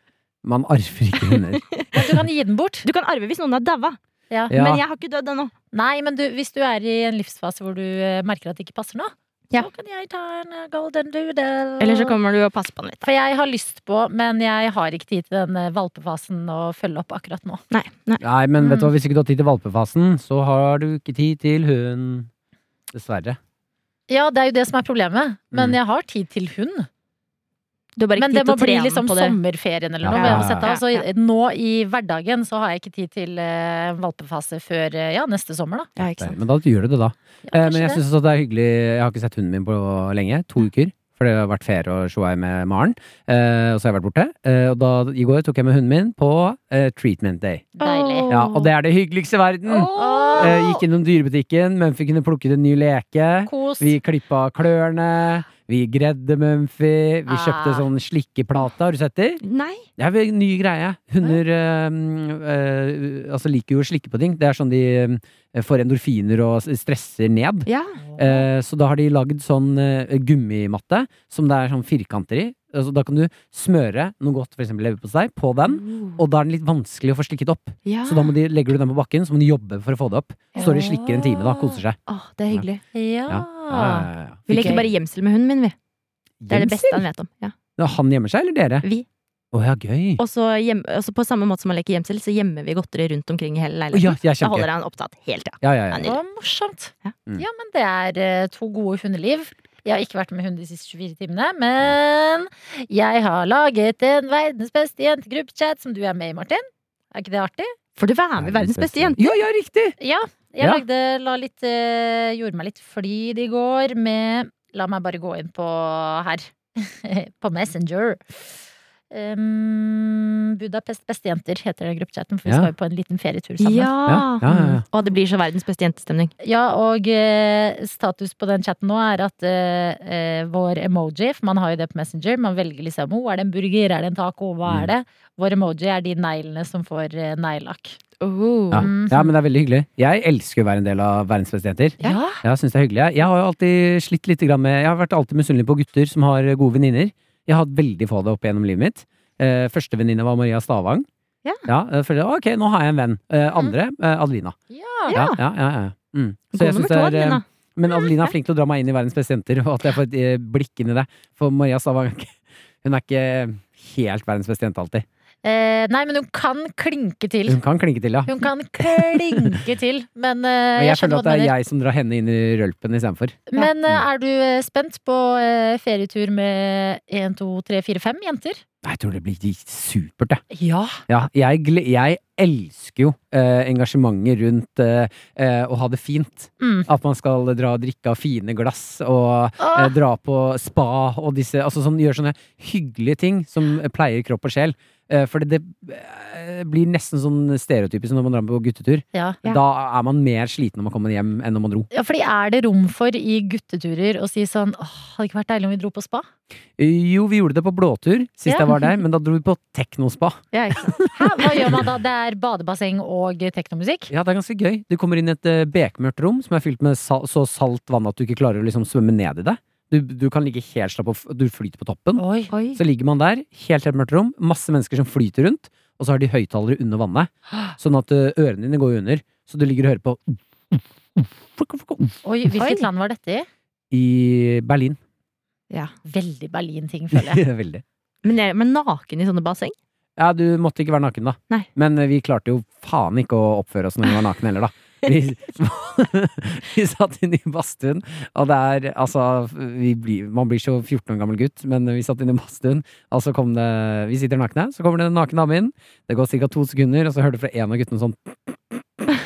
Speaker 3: Man arver ikke hunder.
Speaker 2: Du kan gi den bort.
Speaker 4: Du kan arve hvis noen har daua,
Speaker 2: Ja.
Speaker 3: Ja.
Speaker 4: men jeg har ikke dødd ennå.
Speaker 2: Nei, men du, hvis du er i en livsfase hvor du eh, merker at det ikke passer nå,
Speaker 4: Ja.
Speaker 2: så kan jeg ta en eh, golden doodle.
Speaker 4: Eller så kommer du og passer på den litt.
Speaker 2: For jeg har lyst på, men jeg har ikke tid til den eh, valpefasen å følge opp akkurat nå.
Speaker 4: Nei, nei.
Speaker 3: Nei, men vet du hva, hvis ikke du har tid til valpefasen, så har du ikke tid til hund. Dessverre.
Speaker 2: Ja, det er jo det som er problemet, men
Speaker 3: Mm.
Speaker 2: jeg har tid til hund.
Speaker 4: Du har bare
Speaker 2: Men
Speaker 4: ikke
Speaker 2: det
Speaker 4: tid
Speaker 2: må
Speaker 4: til å
Speaker 2: bli
Speaker 4: trene
Speaker 2: liksom
Speaker 4: på det.
Speaker 2: sommerferien eller
Speaker 3: Ja,
Speaker 2: noe.
Speaker 4: ja,
Speaker 2: hvor jeg må
Speaker 3: ja,
Speaker 2: sette av. Så
Speaker 4: ja,
Speaker 2: nå i hverdagen så har jeg ikke tid til eh, valpefase før eh, ja, neste sommer, da.
Speaker 4: Ja, ikke sant.
Speaker 3: Men da gjør du det,
Speaker 2: Ja,
Speaker 3: da. Eh,
Speaker 2: kanskje
Speaker 3: men jeg
Speaker 2: det.
Speaker 3: syns også det er hyggelig Jeg har ikke sett hunden min på lenge. To uker. For det har vært ferie og showei med Maren. Eh, og så har jeg vært borte. Eh, og da, i går tok jeg med hunden min på eh, treatment day.
Speaker 2: Deilig.
Speaker 4: Åh.
Speaker 3: Ja, og det er det hyggeligste i verden!
Speaker 2: Åh.
Speaker 3: Eh, gikk innom dyrebutikken. Mumphy kunne plukket en ny leke.
Speaker 2: Kos.
Speaker 3: Vi klippa klørne. Vi gredde Mumphy. Vi kjøpte
Speaker 2: Ah.
Speaker 3: sånn slikkeplate. Har du sett det?
Speaker 4: Nei.
Speaker 3: Det er vel en ny greie. Hunder eh, mm, eh, altså liker jo å slikke på ting. Det er sånn de eh, får endorfiner og s- stresser ned.
Speaker 4: Ja.
Speaker 3: Eh, så da har de lagd sånn eh, gummimatte som det er sånn firkanter i. Altså, da kan du smøre noe godt, f.eks. leverpostei, på den. Og da er den litt vanskelig å få slikket opp.
Speaker 4: Ja.
Speaker 3: Mm. Så da må de, legger du den på bakken, så må de jobbe for å få det opp. Står og slikker en time, da. Koser seg.
Speaker 4: Åh, det er hyggelig.
Speaker 2: Ja.
Speaker 3: Ja, ja, ja.
Speaker 4: Vi legger bare gjemsel med hunden min, vi. Det er det beste han vet om. Ja.
Speaker 3: Når han gjemmer seg, eller dere?
Speaker 4: Vi.
Speaker 3: Å ja, gøy.
Speaker 4: Og så gjem- og så på samme måte som han leker gjemsel, så gjemmer vi godteri rundt omkring i hele
Speaker 3: Å, ja,
Speaker 4: leiligheten.
Speaker 3: jeg er
Speaker 4: Da
Speaker 3: kjempegøy.
Speaker 4: holder han opptatt hele tida.
Speaker 3: Ja, ja, ja.
Speaker 2: Det var morsomt.
Speaker 4: Ja.
Speaker 2: Ja.
Speaker 3: Mm.
Speaker 2: men det er eh, to gode hundeliv. Jeg har ikke vært med hund de siste 24 timene, men jeg har laget en verdens beste jentegruppechat som du er med i, Martin. Er ikke det artig?
Speaker 4: For du være med i verdens beste jente.
Speaker 3: Ja, ja, riktig!
Speaker 2: Ja. Jeg
Speaker 3: Ja.
Speaker 2: lagde, la litt, eh, gjorde meg litt flid i går med La meg bare gå inn på her. på Messenger. Um, Budapest bestejenter heter den gruppechatten, for vi
Speaker 3: Ja.
Speaker 2: skal jo på en liten ferietur sammen.
Speaker 3: Ja, ja, ja, ja.
Speaker 4: Og det blir så verdens beste jentestemning.
Speaker 2: Ja, og eh, status på den chatten nå er at eh, eh, vår emoji, for man har jo det på Messenger, man velger liksom oh, er det en burger, er det en taco, hva
Speaker 3: Mm.
Speaker 2: er det? Vår emoji er de neglene som får eh, neglelakk.
Speaker 3: Ja.
Speaker 4: Mm.
Speaker 2: Mhm.
Speaker 3: ja, men det er veldig hyggelig. Jeg elsker å være en del av verdens beste jenter.
Speaker 2: Ja.
Speaker 3: Jeg synes det er hyggelig. Jeg- Jeg har jo alltid slitt litt grann med Jeg har vært alltid misunnelig på gutter som har gode venninner. Jeg har hatt veldig få av det opp gjennom livet mitt. Eh, første venninne var Maria Stavang.
Speaker 4: Ja.
Speaker 3: eh, følte jeg, ok, nå har jeg en venn. Eh, andre eh, Adelina.
Speaker 2: Ja.
Speaker 3: Ja, ja, ja, ja. Mm. Så
Speaker 4: Ah. God
Speaker 3: jeg synes
Speaker 4: nummer to,
Speaker 3: det er, eh,
Speaker 4: Adelina.
Speaker 3: Men
Speaker 2: Mm,
Speaker 3: Adelina er flink til å dra meg inn i verdens beste jenter, og at jeg får et eh, blikk inn i det. For Maria Stavang er ikke- hun er ikke helt verdens beste jente alltid.
Speaker 2: Eh, nei, men hun kan klinke til.
Speaker 3: Hun kan klinke til, ja.
Speaker 2: Hun kan klinke til, men, eh,
Speaker 3: Men
Speaker 2: jeg
Speaker 3: jeg, føler
Speaker 2: skjønner hva
Speaker 3: at
Speaker 2: du
Speaker 3: det er
Speaker 2: mener.
Speaker 3: jeg som drar henne inn i rølpen istedenfor.
Speaker 2: Men eh, er du eh, spent på eh, ferietur med 1, 2, 3, 4, 5 jenter?
Speaker 3: Jeg tror det blir de- supert, jeg.
Speaker 2: Ja.
Speaker 3: Ja, jeg, gle- jeg elsker jo eh, engasjementet rundt eh, eh, å ha det fint.
Speaker 2: Mm.
Speaker 3: At man skal dra og drikke av fine glass, og eh,
Speaker 2: Åh,
Speaker 3: dra på spa og disse Altså sånn, gjøre sånne hyggelige ting som pleier kropp og sjel. Eh, for det, det eh, blir nesten sånn stereotypisk når man drar på guttetur.
Speaker 2: ja.
Speaker 4: Ja.
Speaker 3: Da er man mer sliten når man kommer hjem enn når man dro.
Speaker 2: Ja, fordi er det rom for i gutteturer å si sånn Åh, hadde det ikke vært deilig om vi dro på spa?
Speaker 3: Eh, Jo, vi gjorde det på blåtur sist
Speaker 2: Ja.
Speaker 3: jeg var der, men da dro vi på teknospa.
Speaker 4: Ja, ikke sant.
Speaker 2: Hæ, hva gjør man da? Det er badebasseng og teknomusikk?
Speaker 3: Ja, det er ganske gøy. Du kommer inn i et eh, bekmørkt rom som er fylt med sal så salt vann at du ikke klarer å liksom svømme ned i det. Du, du kan ligge helt slapp og f- du flyter på toppen.
Speaker 2: Oi.
Speaker 4: Oi.
Speaker 3: eh, Så ligger man der, helt helt mørkt rom, masse mennesker som flyter rundt, og så har de høyttalere under vannet. Sånn at eh, ørene dine går jo under, så du ligger og hører på
Speaker 2: Oi, hvilket land var dette i?
Speaker 3: I Berlin.
Speaker 4: Ja.
Speaker 2: Veldig Berlin-ting, føler jeg.
Speaker 3: Veldig.
Speaker 4: Men, jeg, men naken i sånne basseng?
Speaker 3: Ja, du måtte ikke være naken, da.
Speaker 4: Nei.
Speaker 3: Men eh, vi klarte jo faen ikke å oppføre oss når vi var naken heller, da. Vi, vi satt inne i badstuen, og det er altså vi blir, Man blir så 14 år gammel gutt, men vi satt inne i badstuen, og så kom det Vi sitter nakne, så kommer det en naken dame inn. Det går ca. to sekunder, og så hører du fra en av guttene sånn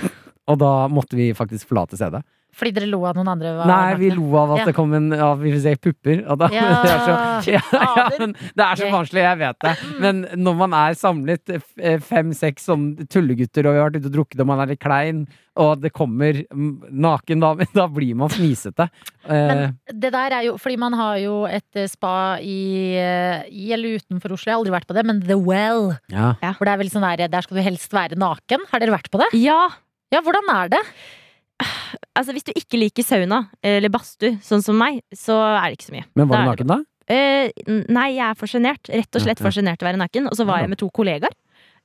Speaker 3: Og da måtte vi faktisk forlate stedet.
Speaker 2: Fordi dere lo av noen andre? var
Speaker 3: Nei, vi
Speaker 2: nakne.
Speaker 3: lo av at
Speaker 2: Ja.
Speaker 3: det kom en av vi vil si, pupper. Og da,
Speaker 2: Ja.
Speaker 3: det, er så, ja, ja,
Speaker 2: Fader.
Speaker 3: men det er så
Speaker 2: Gøy.
Speaker 3: barnslig, jeg vet det.
Speaker 4: Mm.
Speaker 3: Men når man er samlet eh, fem-seks sånn tullegutter, og vi har vært ute og drukket, og man er litt klein, og det kommer mm, naken dame, da blir man fnisete. Eh,
Speaker 2: Men det der er jo Fordi man har jo et eh, spa i, eh, i eller utenfor Oslo, jeg har aldri vært på det, men The Well.
Speaker 3: ja.
Speaker 2: Hvor det er veldig sånn der, der skal du helst være naken. Har dere vært på det?
Speaker 4: Ja,
Speaker 2: Ja, hvordan er det?
Speaker 4: altså Hvis du ikke liker sauna eller badstue, sånn som meg, så er det ikke så mye.
Speaker 3: Men var du
Speaker 4: Da er det
Speaker 3: naken da?
Speaker 4: Eh, n- nei, jeg er for sjenert. Rett og slett
Speaker 3: Ja, ja.
Speaker 4: for sjenert til å være naken. Og så var
Speaker 3: Ja.
Speaker 4: jeg med to kollegaer,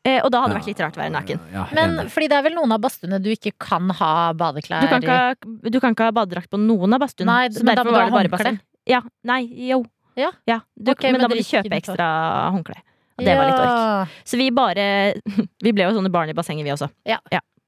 Speaker 4: eh, og da hadde det vært litt rart å være naken.
Speaker 3: Ja,
Speaker 2: Men
Speaker 3: enig.
Speaker 2: fordi det er vel noen av badstuene du ikke kan ha badeklær
Speaker 4: Du kan ikke, ha- du kan ikke ha badedrakt på noen av badstuene.
Speaker 2: Nei,
Speaker 4: så
Speaker 2: men da
Speaker 4: derfor
Speaker 2: må du
Speaker 4: var det
Speaker 2: ha
Speaker 4: bare
Speaker 2: håndkle.
Speaker 4: basseng. Ja, nei, jo.
Speaker 2: Ja?
Speaker 4: du,
Speaker 2: Ok, men
Speaker 4: men, da
Speaker 2: dere
Speaker 4: må du
Speaker 2: gikk
Speaker 4: kjøpe
Speaker 2: inn for-
Speaker 4: ekstra håndkle. Og det var litt ork. Så vi bare Vi ble jo sånne barn i bassenget, vi også.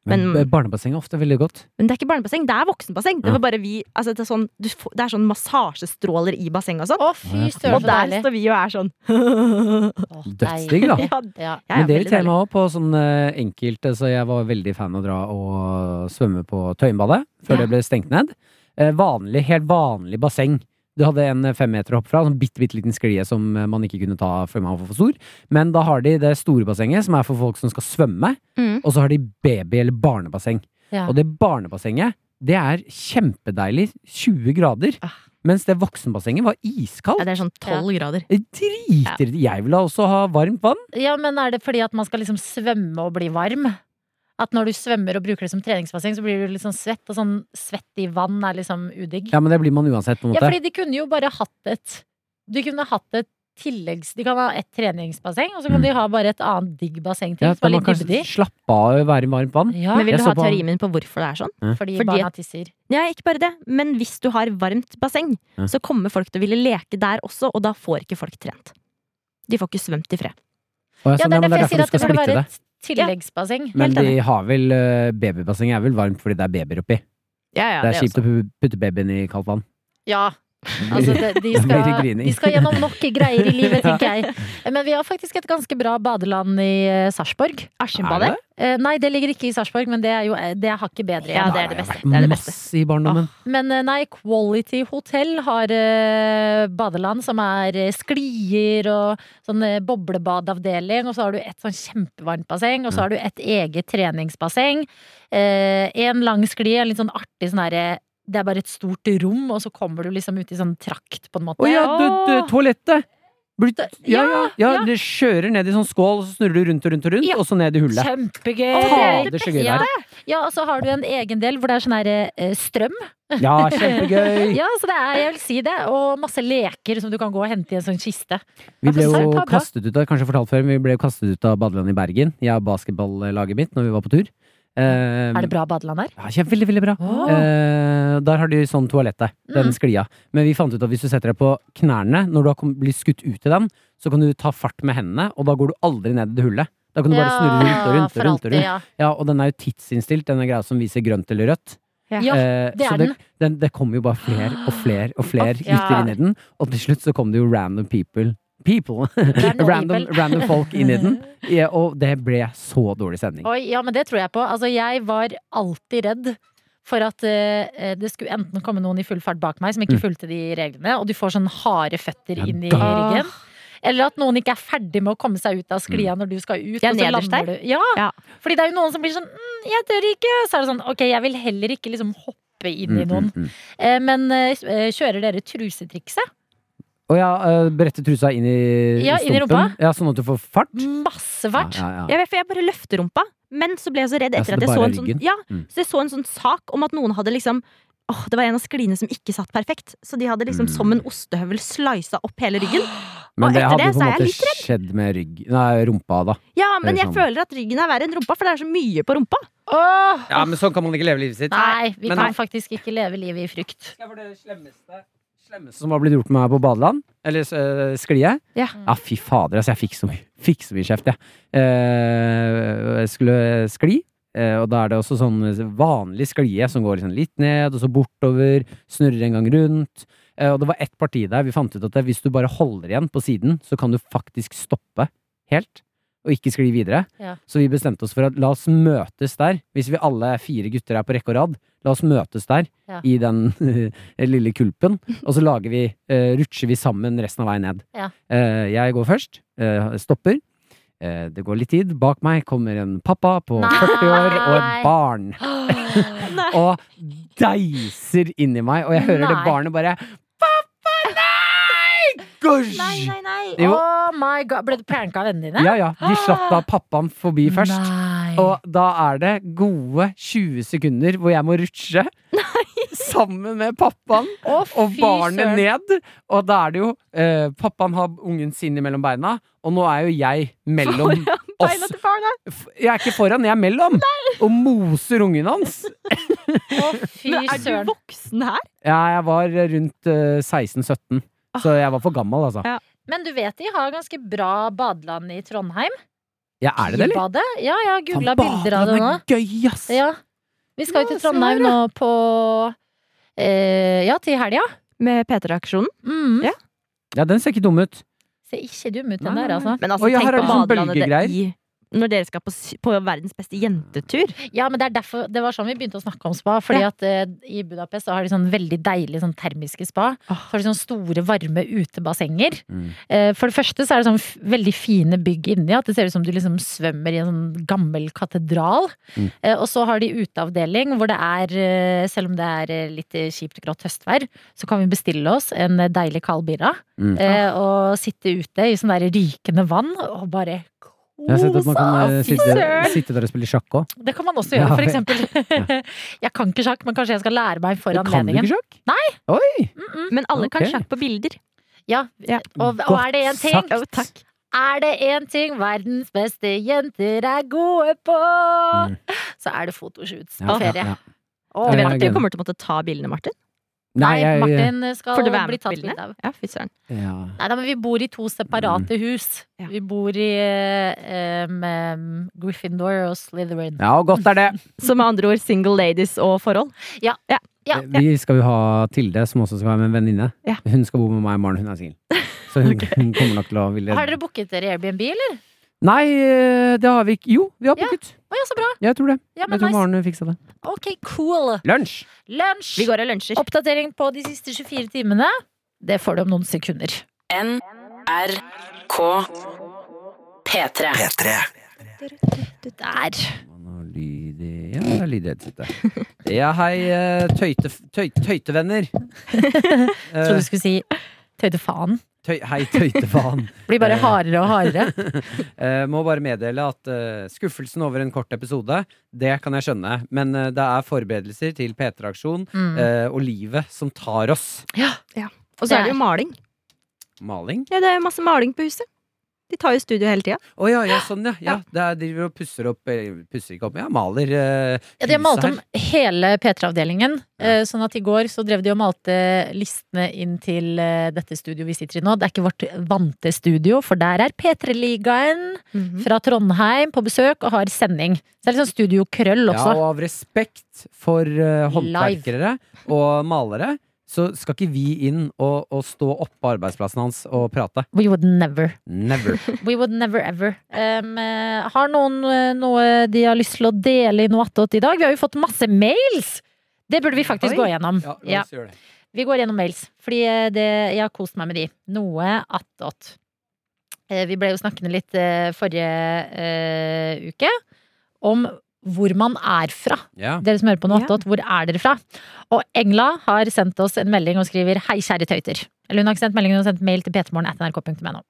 Speaker 3: Men
Speaker 4: men-
Speaker 3: barnebasseng er ofte veldig godt.
Speaker 4: Men det er ikke barnebasseng, det er voksenbasseng. Det
Speaker 3: Ja.
Speaker 4: var bare vi altså, det, er sånn, du, får- det er sånn massasjestråler i bassenget og sånn.
Speaker 2: Å, fy søren,
Speaker 4: Og
Speaker 2: så
Speaker 4: der
Speaker 2: deilig.
Speaker 4: står vi og er sånn.
Speaker 2: Å,
Speaker 3: Dødsdigg, da.
Speaker 2: deilig.
Speaker 4: Ja,
Speaker 2: Ja.
Speaker 4: jeg er
Speaker 3: Men det
Speaker 4: veldig
Speaker 3: irriterer
Speaker 4: deilig.
Speaker 3: meg òg på sånn eh, enkelte, så jeg var veldig fan av å dra og svømme på Tøyenbadet før
Speaker 2: Ja.
Speaker 3: det ble stengt ned. Eh, vanlig, helt vanlig basseng. Du hadde en eh, femmeter å hoppe fra, sånn bitte, bitte liten sklie som eh, man ikke kunne ta før man var for stor. Men da har de det store bassenget, som er for folk som skal svømme,
Speaker 4: Mm.
Speaker 3: og så har de baby- eller barnebasseng.
Speaker 2: Ja.
Speaker 3: Og det barnebassenget, det er kjempedeilig. 20 grader.
Speaker 4: Ah.
Speaker 3: Mens det voksenbassenget var iskaldt.
Speaker 4: Ja, det er sånn tolv grader.
Speaker 3: Jeg Driter i Jeg ville også ha varmt vann.
Speaker 2: ja, men er det fordi at man skal liksom svømme og bli varm? At når du svømmer og bruker det som treningsbasseng, så blir du litt sånn svett, og sånn svett i vann er liksom udigg.
Speaker 3: Ja, men det blir man uansett, på en
Speaker 2: Ja,
Speaker 3: måte.
Speaker 2: fordi de kunne jo bare hatt et Du kunne hatt et tilleggs... De kan ha et treningsbasseng, og så kan
Speaker 3: Mm.
Speaker 2: de ha bare et annet digg basseng til,
Speaker 3: Ja,
Speaker 2: som er
Speaker 3: man
Speaker 2: litt
Speaker 3: kan
Speaker 2: dybdig.
Speaker 3: slappe av og være i varmt vann.
Speaker 2: Ja,
Speaker 4: Men vil
Speaker 3: Jeg
Speaker 4: du
Speaker 3: så
Speaker 4: ha
Speaker 3: på-
Speaker 4: teorien min på hvorfor det er sånn?
Speaker 2: fordi,
Speaker 4: fordi-
Speaker 2: barna tisser.
Speaker 4: Ja, ikke bare det, men hvis du har varmt basseng,
Speaker 3: Ja.
Speaker 4: så kommer folk til å ville leke der også, og da får ikke folk trent. De får ikke svømt i fred.
Speaker 3: Og
Speaker 2: Ja,
Speaker 3: jeg sa,
Speaker 2: det
Speaker 3: Altså, nei,
Speaker 2: er
Speaker 3: men
Speaker 2: derfor jeg sier
Speaker 3: du
Speaker 2: at det
Speaker 3: skal
Speaker 2: burde
Speaker 3: splitte
Speaker 2: være
Speaker 3: det.
Speaker 2: et tilleggsbasseng.
Speaker 3: Men
Speaker 4: Helt
Speaker 3: de har vel eh, Babybassenget er vel varmt fordi det er babyer oppi.
Speaker 4: Ja, ja,
Speaker 3: det er kjipt å pu- putte babyen i kaldt vann.
Speaker 2: Ja. Altså, de, de,
Speaker 3: Det blir
Speaker 2: skal,
Speaker 3: grining.
Speaker 2: de skal gjennom nok greier i livet, tenker jeg. Men vi har faktisk et ganske bra badeland i eh, Sarpsborg.
Speaker 4: Askimbadet?
Speaker 2: Eh, nei, det ligger ikke i Sarpsborg, men det er jo eh, det er hakket bedre.
Speaker 4: Ja, det er det beste. Det er det beste.
Speaker 3: Masse i barndommen.
Speaker 2: Men eh, nei, Quality Hotel har eh, badeland som er eh, sklier og sånn eh, boblebadavdeling. Og så har du et sånn kjempevarmt basseng, og så har du et eget treningsbasseng. Eh, en lang sklie, en litt sånn artig sånn herre Det er bare et stort rom, og så kommer du liksom ut i sånn trakt, på en måte.
Speaker 3: Å ja, du, du,
Speaker 4: Åh.
Speaker 3: toalettet! Blir- Ja, ja, ja,
Speaker 2: ja.
Speaker 3: det kjører ned i sånn skål, og så snurrer du rundt og rundt og rundt,
Speaker 2: Ja.
Speaker 3: og så ned i hullet.
Speaker 2: Kjempegøy!
Speaker 3: Fader, så gøy det
Speaker 2: ja.
Speaker 3: er.
Speaker 2: ja, og så har du en egen del hvor det er sånn her eh, strøm.
Speaker 3: Ja, kjempegøy!
Speaker 2: Ja, så det er, jeg vil si det. Og masse leker som du kan gå og hente i en sånn kiste. Ja,
Speaker 3: Vi ble
Speaker 2: for
Speaker 3: jo
Speaker 2: søren, Pablo.
Speaker 3: kastet ut av kanskje fortalt før, men vi ble jo kastet ut av badelandet i Bergen. Jeg og basketballaget mitt når vi var på tur. Eh,
Speaker 2: Er det bra badeland her?
Speaker 3: Ja, kjempe- veldig, veldig bra. Eh, der har de sånn toalettet, den
Speaker 2: Mm.
Speaker 3: sklia. Men vi fant ut at hvis du setter deg på knærne når du har kom- blitt skutt ut i den, så kan du ta fart med hendene, og da går du aldri ned i det hullet. Da kan du bare snurre rundt og rundt. og rundt, og rundt.
Speaker 2: ja.
Speaker 3: Ja, og den er jo tidsinnstilt, den greia som viser grønt eller rødt.
Speaker 2: Ja,
Speaker 3: Eh,
Speaker 2: det
Speaker 3: så
Speaker 2: er
Speaker 3: det, den, det kommer jo bare flere og flere og flere
Speaker 2: Å, ja.
Speaker 3: gutter inn i den, og til slutt så kom det jo random people. People!
Speaker 2: Random
Speaker 3: random,
Speaker 2: people.
Speaker 3: random folk inn i den. Ja, og det ble så dårlig sending.
Speaker 2: Oi, ja, men det tror jeg på. Altså, jeg var alltid redd for at eh, det skulle enten komme noen i full fart bak meg som ikke fulgte de reglene, og du får sånn harde føtter
Speaker 3: Mm. Ja,
Speaker 2: inn i
Speaker 3: da-
Speaker 2: ryggen. Eller at noen ikke er ferdig med å komme seg
Speaker 3: Mm.
Speaker 2: ut av sklia når du skal ut.
Speaker 4: Ja,
Speaker 2: og så
Speaker 4: nederst
Speaker 2: lander
Speaker 4: der.
Speaker 2: du- Ja,
Speaker 4: Ja.
Speaker 2: fordi det er jo noen som blir sånn mm, 'jeg tør ikke', så er det sånn 'ok, jeg vil heller ikke liksom hoppe inn i noen'.
Speaker 3: Mm, mm, mm.
Speaker 2: Eh, men eh, kjører dere trusetrikset?
Speaker 3: Å ja, eh, brette trusa inn i
Speaker 2: Ja, inn i
Speaker 3: stumpen.
Speaker 2: rumpa.
Speaker 3: Ja, sånn at du får fart.
Speaker 2: Masse fart.
Speaker 3: Ja, ja, ja.
Speaker 4: Jeg, vet, for jeg bare løfter rumpa, men så ble jeg så redd
Speaker 3: Ja,
Speaker 4: etter
Speaker 3: så det
Speaker 4: at jeg
Speaker 3: bare
Speaker 4: så
Speaker 3: er
Speaker 4: en sånn,
Speaker 3: ryggen?
Speaker 4: ja,
Speaker 3: Mm.
Speaker 4: så jeg så en sånn sak om at noen hadde liksom Åh, Det var en av skliene som ikke satt perfekt, så de hadde liksom
Speaker 3: Mm.
Speaker 4: som en ostehøvel slisa opp hele ryggen.
Speaker 3: Men
Speaker 4: Og
Speaker 3: det
Speaker 4: etter
Speaker 3: hadde
Speaker 4: det
Speaker 3: jo på
Speaker 4: så er
Speaker 3: en
Speaker 4: jeg
Speaker 3: måte skjedd med rygg Nei, rumpa, da.
Speaker 4: Ja, men
Speaker 3: Det er
Speaker 4: jeg
Speaker 3: sant.
Speaker 4: føler at ryggen er verre enn rumpa, for det er så mye på rumpa.
Speaker 2: Åh!
Speaker 3: Ja, men sånn kan man ikke leve livet sitt.
Speaker 2: Nei, vi
Speaker 3: Men-
Speaker 2: kan faktisk ikke leve livet i frykt.
Speaker 3: Skal jeg fortelle det slemmeste, slemmeste som har blitt gjort med meg på badeland? Eller eh, sklie?
Speaker 2: Mm.
Speaker 4: Ja.
Speaker 3: fy fader, altså. Jeg fikk så mye, fikk så mye kjeft, jeg. Eh, jeg skulle skli. eh, Og da er det også sånn vanlig sklie som går liksom litt ned, og så bortover, snurrer en gang rundt. Eh, Og det var ett parti der vi fant ut at det- hvis du bare holder igjen på siden, så kan du faktisk stoppe helt. og ikke skli videre.
Speaker 2: Ja.
Speaker 3: Så vi bestemte oss for at la oss møtes der, hvis vi alle fire gutter er på rekke og rad. La oss møtes der,
Speaker 2: Ja.
Speaker 3: i den lille kulpen, og så lager vi, eh, rutsjer vi sammen resten av veien ned.
Speaker 2: Ja.
Speaker 3: Eh, jeg går først, eh, stopper. Eh, det går litt tid. Bak meg kommer en pappa på
Speaker 2: Nei.
Speaker 3: 40 år og et barn. og deiser inni meg, og jeg hører det
Speaker 2: Nei.
Speaker 3: barnet bare Pappa, nei! Gosj!
Speaker 2: Nei, nei, nei.
Speaker 3: Jo.
Speaker 2: Oh my god. Ble du pranka av vennene dine?
Speaker 3: Ja, ja. De slapp da pappaen forbi først.
Speaker 2: Nei.
Speaker 3: Og da er det gode 20 sekunder hvor jeg må rutsje sammen med pappaen
Speaker 2: Å,
Speaker 3: og
Speaker 2: fy
Speaker 3: barnet
Speaker 2: søren.
Speaker 3: ned. Og da er det jo eh, Pappaen har ungen sin mellom beina, og nå er jo jeg mellom
Speaker 4: Beina
Speaker 3: oss.
Speaker 4: til barna.
Speaker 3: F- Jeg er ikke foran, jeg er mellom! Og moser ungen hans.
Speaker 2: Å, fy
Speaker 4: Men er
Speaker 2: søren.
Speaker 4: du voksen her?
Speaker 3: Ja, jeg var rundt eh, 16-17, så
Speaker 2: Ah.
Speaker 3: jeg var for gammel, altså.
Speaker 4: Ja.
Speaker 2: Men du vet de har ganske bra badeland i Trondheim?
Speaker 3: Ja, er det det, eller?
Speaker 2: Bybadet? Ja, jeg har googla
Speaker 3: Faen,
Speaker 2: bilder av det nå.
Speaker 3: badeland er Gøy, ass!
Speaker 2: Ja. Vi skal jo
Speaker 4: Ja,
Speaker 2: til
Speaker 4: se her,
Speaker 2: Trondheim nå på eh, Ja, til helga.
Speaker 4: Med P3-aksjonen.
Speaker 2: Mm.
Speaker 4: Ja.
Speaker 3: Ja, den ser ikke dum ut.
Speaker 2: Ser ikke dum ut,
Speaker 3: Nei,
Speaker 2: den
Speaker 3: nei,
Speaker 2: der, altså.
Speaker 4: Men altså,
Speaker 3: Oi, her
Speaker 4: tenk
Speaker 3: er
Speaker 4: på
Speaker 3: det sånn
Speaker 4: badelandet det
Speaker 3: bølgegreier.
Speaker 4: i når dere skal på, s- på verdens beste jentetur.
Speaker 2: Ja, men det, er derfor, det var sånn vi begynte å snakke om spa. Fordi at eh, i Budapest så har de sånn veldig deilige sånn termiske spa.
Speaker 4: Åh.
Speaker 2: Så har de sånne store, varme utebassenger.
Speaker 3: Mm.
Speaker 2: Eh, for det første så er det sånn f veldig fine bygg inni. At det ser ut som du liksom svømmer i en sånn gammel katedral.
Speaker 3: Mm.
Speaker 2: Eh, og så har de uteavdeling hvor det er, eh, selv om det er eh, litt eh, kjipt og grått høstvær, så kan vi bestille oss en eh, deilig kald birra.
Speaker 3: Mm.
Speaker 2: Eh, og sitte ute i sånn der rykende vann og bare
Speaker 3: Jeg har sett at man kan eh,
Speaker 2: kose oss. Fy
Speaker 3: sitte,
Speaker 2: søren!
Speaker 3: sitte der og spille sjakk òg.
Speaker 2: Det kan man også
Speaker 3: Ja,
Speaker 2: gjøre, for
Speaker 3: vel.
Speaker 2: eksempel. Jeg kan ikke sjakk, men kanskje jeg skal lære meg for
Speaker 3: Du kan du
Speaker 2: anledningen.
Speaker 3: ikke sjakk? Nei! Oi!
Speaker 2: Mm,
Speaker 4: Men alle kan
Speaker 3: Ok.
Speaker 4: sjakk på bilder.
Speaker 2: Ja,
Speaker 4: Ja.
Speaker 2: og, og
Speaker 3: Godt
Speaker 2: er det én ting
Speaker 3: sagt. Jo, takk.
Speaker 2: Er det én ting verdens beste jenter er gode på,
Speaker 3: Mm.
Speaker 2: så er det fotoshoots
Speaker 3: Ja,
Speaker 2: på
Speaker 3: ja,
Speaker 2: ferie.
Speaker 3: ja.
Speaker 2: Å,
Speaker 3: Ja,
Speaker 4: Du
Speaker 3: ja,
Speaker 4: vet at
Speaker 2: Martin.
Speaker 4: du
Speaker 3: gøy.
Speaker 4: kommer til å måtte ta bildene, Martin?
Speaker 2: Nei,
Speaker 3: Nei, jeg,
Speaker 2: Martin
Speaker 4: Får
Speaker 2: skal
Speaker 4: du være
Speaker 2: bli
Speaker 4: med på
Speaker 2: tatt
Speaker 4: bildene?
Speaker 2: bilde av.
Speaker 4: Ja, fy søren.
Speaker 3: ja.
Speaker 2: Nei da, men vi bor i to
Speaker 3: Mm.
Speaker 2: separate hus.
Speaker 4: Ja.
Speaker 2: Vi bor i eh, em, em, Gryffindor og Slytherin.
Speaker 3: ja, og godt er det!
Speaker 4: Så med andre ord single ladies og forhold.
Speaker 2: Ja.
Speaker 3: Vi skal jo ha Tilde, som også skal være med en venninne.
Speaker 4: Ja.
Speaker 3: Hun skal bo med meg i morgen, hun er singel. Så hun, hun kommer nok til å ville
Speaker 2: Har dere booket dere Airbnb, eller?
Speaker 3: Nei, eh, det har vi ikke. Jo, vi har
Speaker 2: Ja.
Speaker 3: booket.
Speaker 2: Å ja, så bra.
Speaker 3: Jeg tror det.
Speaker 2: Ja,
Speaker 3: Jeg
Speaker 2: men
Speaker 3: tror
Speaker 2: nice.
Speaker 3: Maren fiksa det.
Speaker 2: Ok, cool.
Speaker 3: Lunsj!
Speaker 2: Lunsj!
Speaker 4: Vi går og lunsjer.
Speaker 2: Oppdatering på de siste 24 timene. Det får du om noen sekunder.
Speaker 5: NRK P3.
Speaker 2: Der.
Speaker 3: Nå lyder Ja, det er lyd i headsetet. Ja, hei, eh, tøyte, tøy, tøytevenner.
Speaker 2: Jeg trodde
Speaker 3: Eh,
Speaker 2: du skulle si tøyde faen.
Speaker 3: tøy, hei, tøytefaen.
Speaker 2: Blir bare hardere og hardere.
Speaker 3: Eh, må bare meddele at eh, skuffelsen over en kort episode, det kan jeg skjønne. Men eh, det er forberedelser til P3-aksjon
Speaker 2: Mm.
Speaker 3: eh, og livet som tar oss.
Speaker 4: Og så er det jo maling.
Speaker 3: Maling?
Speaker 4: Ja, det er masse maling på huset. De tar jo studio hele tida.
Speaker 3: Å ja, ja, sånn ja. ja. Det er, driver og pusser opp eh, Pusser ikke opp, ja, maler eh,
Speaker 2: Ja, de har
Speaker 3: huset
Speaker 2: malt
Speaker 3: her.
Speaker 2: om hele P3-avdelingen. eh, Sånn at i går så drev de og malte listene inn til eh, dette studioet vi sitter i nå. Det er ikke vårt vante studio, for der er P3-ligaen
Speaker 3: Mm.
Speaker 4: Mhm.
Speaker 2: fra Trondheim på besøk og har sending. Så det er litt sånn Studio Krøll
Speaker 3: Ja, og
Speaker 2: også.
Speaker 3: av respekt for eh,
Speaker 2: Live.
Speaker 3: håndverkere og malere, så skal ikke vi inn og, og stå oppå arbeidsplassen hans og prate.
Speaker 2: We would never.
Speaker 3: Never.
Speaker 2: We would never ever. Um, eh, har noen eh, noe de har lyst til å dele i noe attåt i dag? Vi har jo fått masse mails! Det burde vi faktisk
Speaker 4: Oi.
Speaker 2: gå gjennom.
Speaker 3: Ja, la
Speaker 2: Ja,
Speaker 3: oss gjøre det.
Speaker 2: vi går gjennom mails, fordi eh, det, jeg har kost meg med de. Noe attåt. Eh, Vi ble jo snakkende litt eh, forrige eh, uke om hvor man er fra.
Speaker 3: Ja.
Speaker 2: Dere som hører på noe
Speaker 4: Ja.
Speaker 2: attåt, hvor er dere fra? Og Engla har sendt oss en melding og skriver 'Hei, kjære tøyter'. Eller hun har ikke sendt melding, hun har sendt mail til ptmorgen.nrk.no.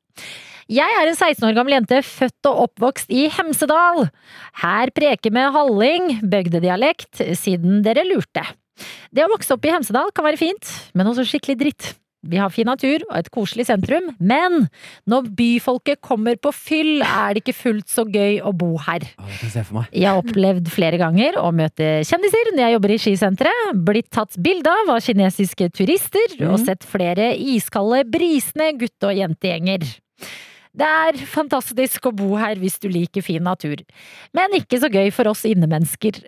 Speaker 2: Jeg er en 16 år gammel jente, født og oppvokst i Hemsedal. Her preker med halling, bygdedialekt, siden dere lurte. Det å vokse opp i Hemsedal kan være fint, men også skikkelig dritt. Vi har fin natur og et koselig sentrum, men når byfolket kommer på fyll, er det ikke fullt så gøy å bo her.
Speaker 3: Å, det kan jeg se for meg.
Speaker 2: Jeg har opplevd flere ganger å møte kjendiser når jeg jobber i skisenteret, blitt tatt bilde av av kinesiske turister og sett flere iskalde, brisende gutte- og jentegjenger. Det er fantastisk å bo her hvis du liker fin natur, men ikke så gøy for oss innemennesker.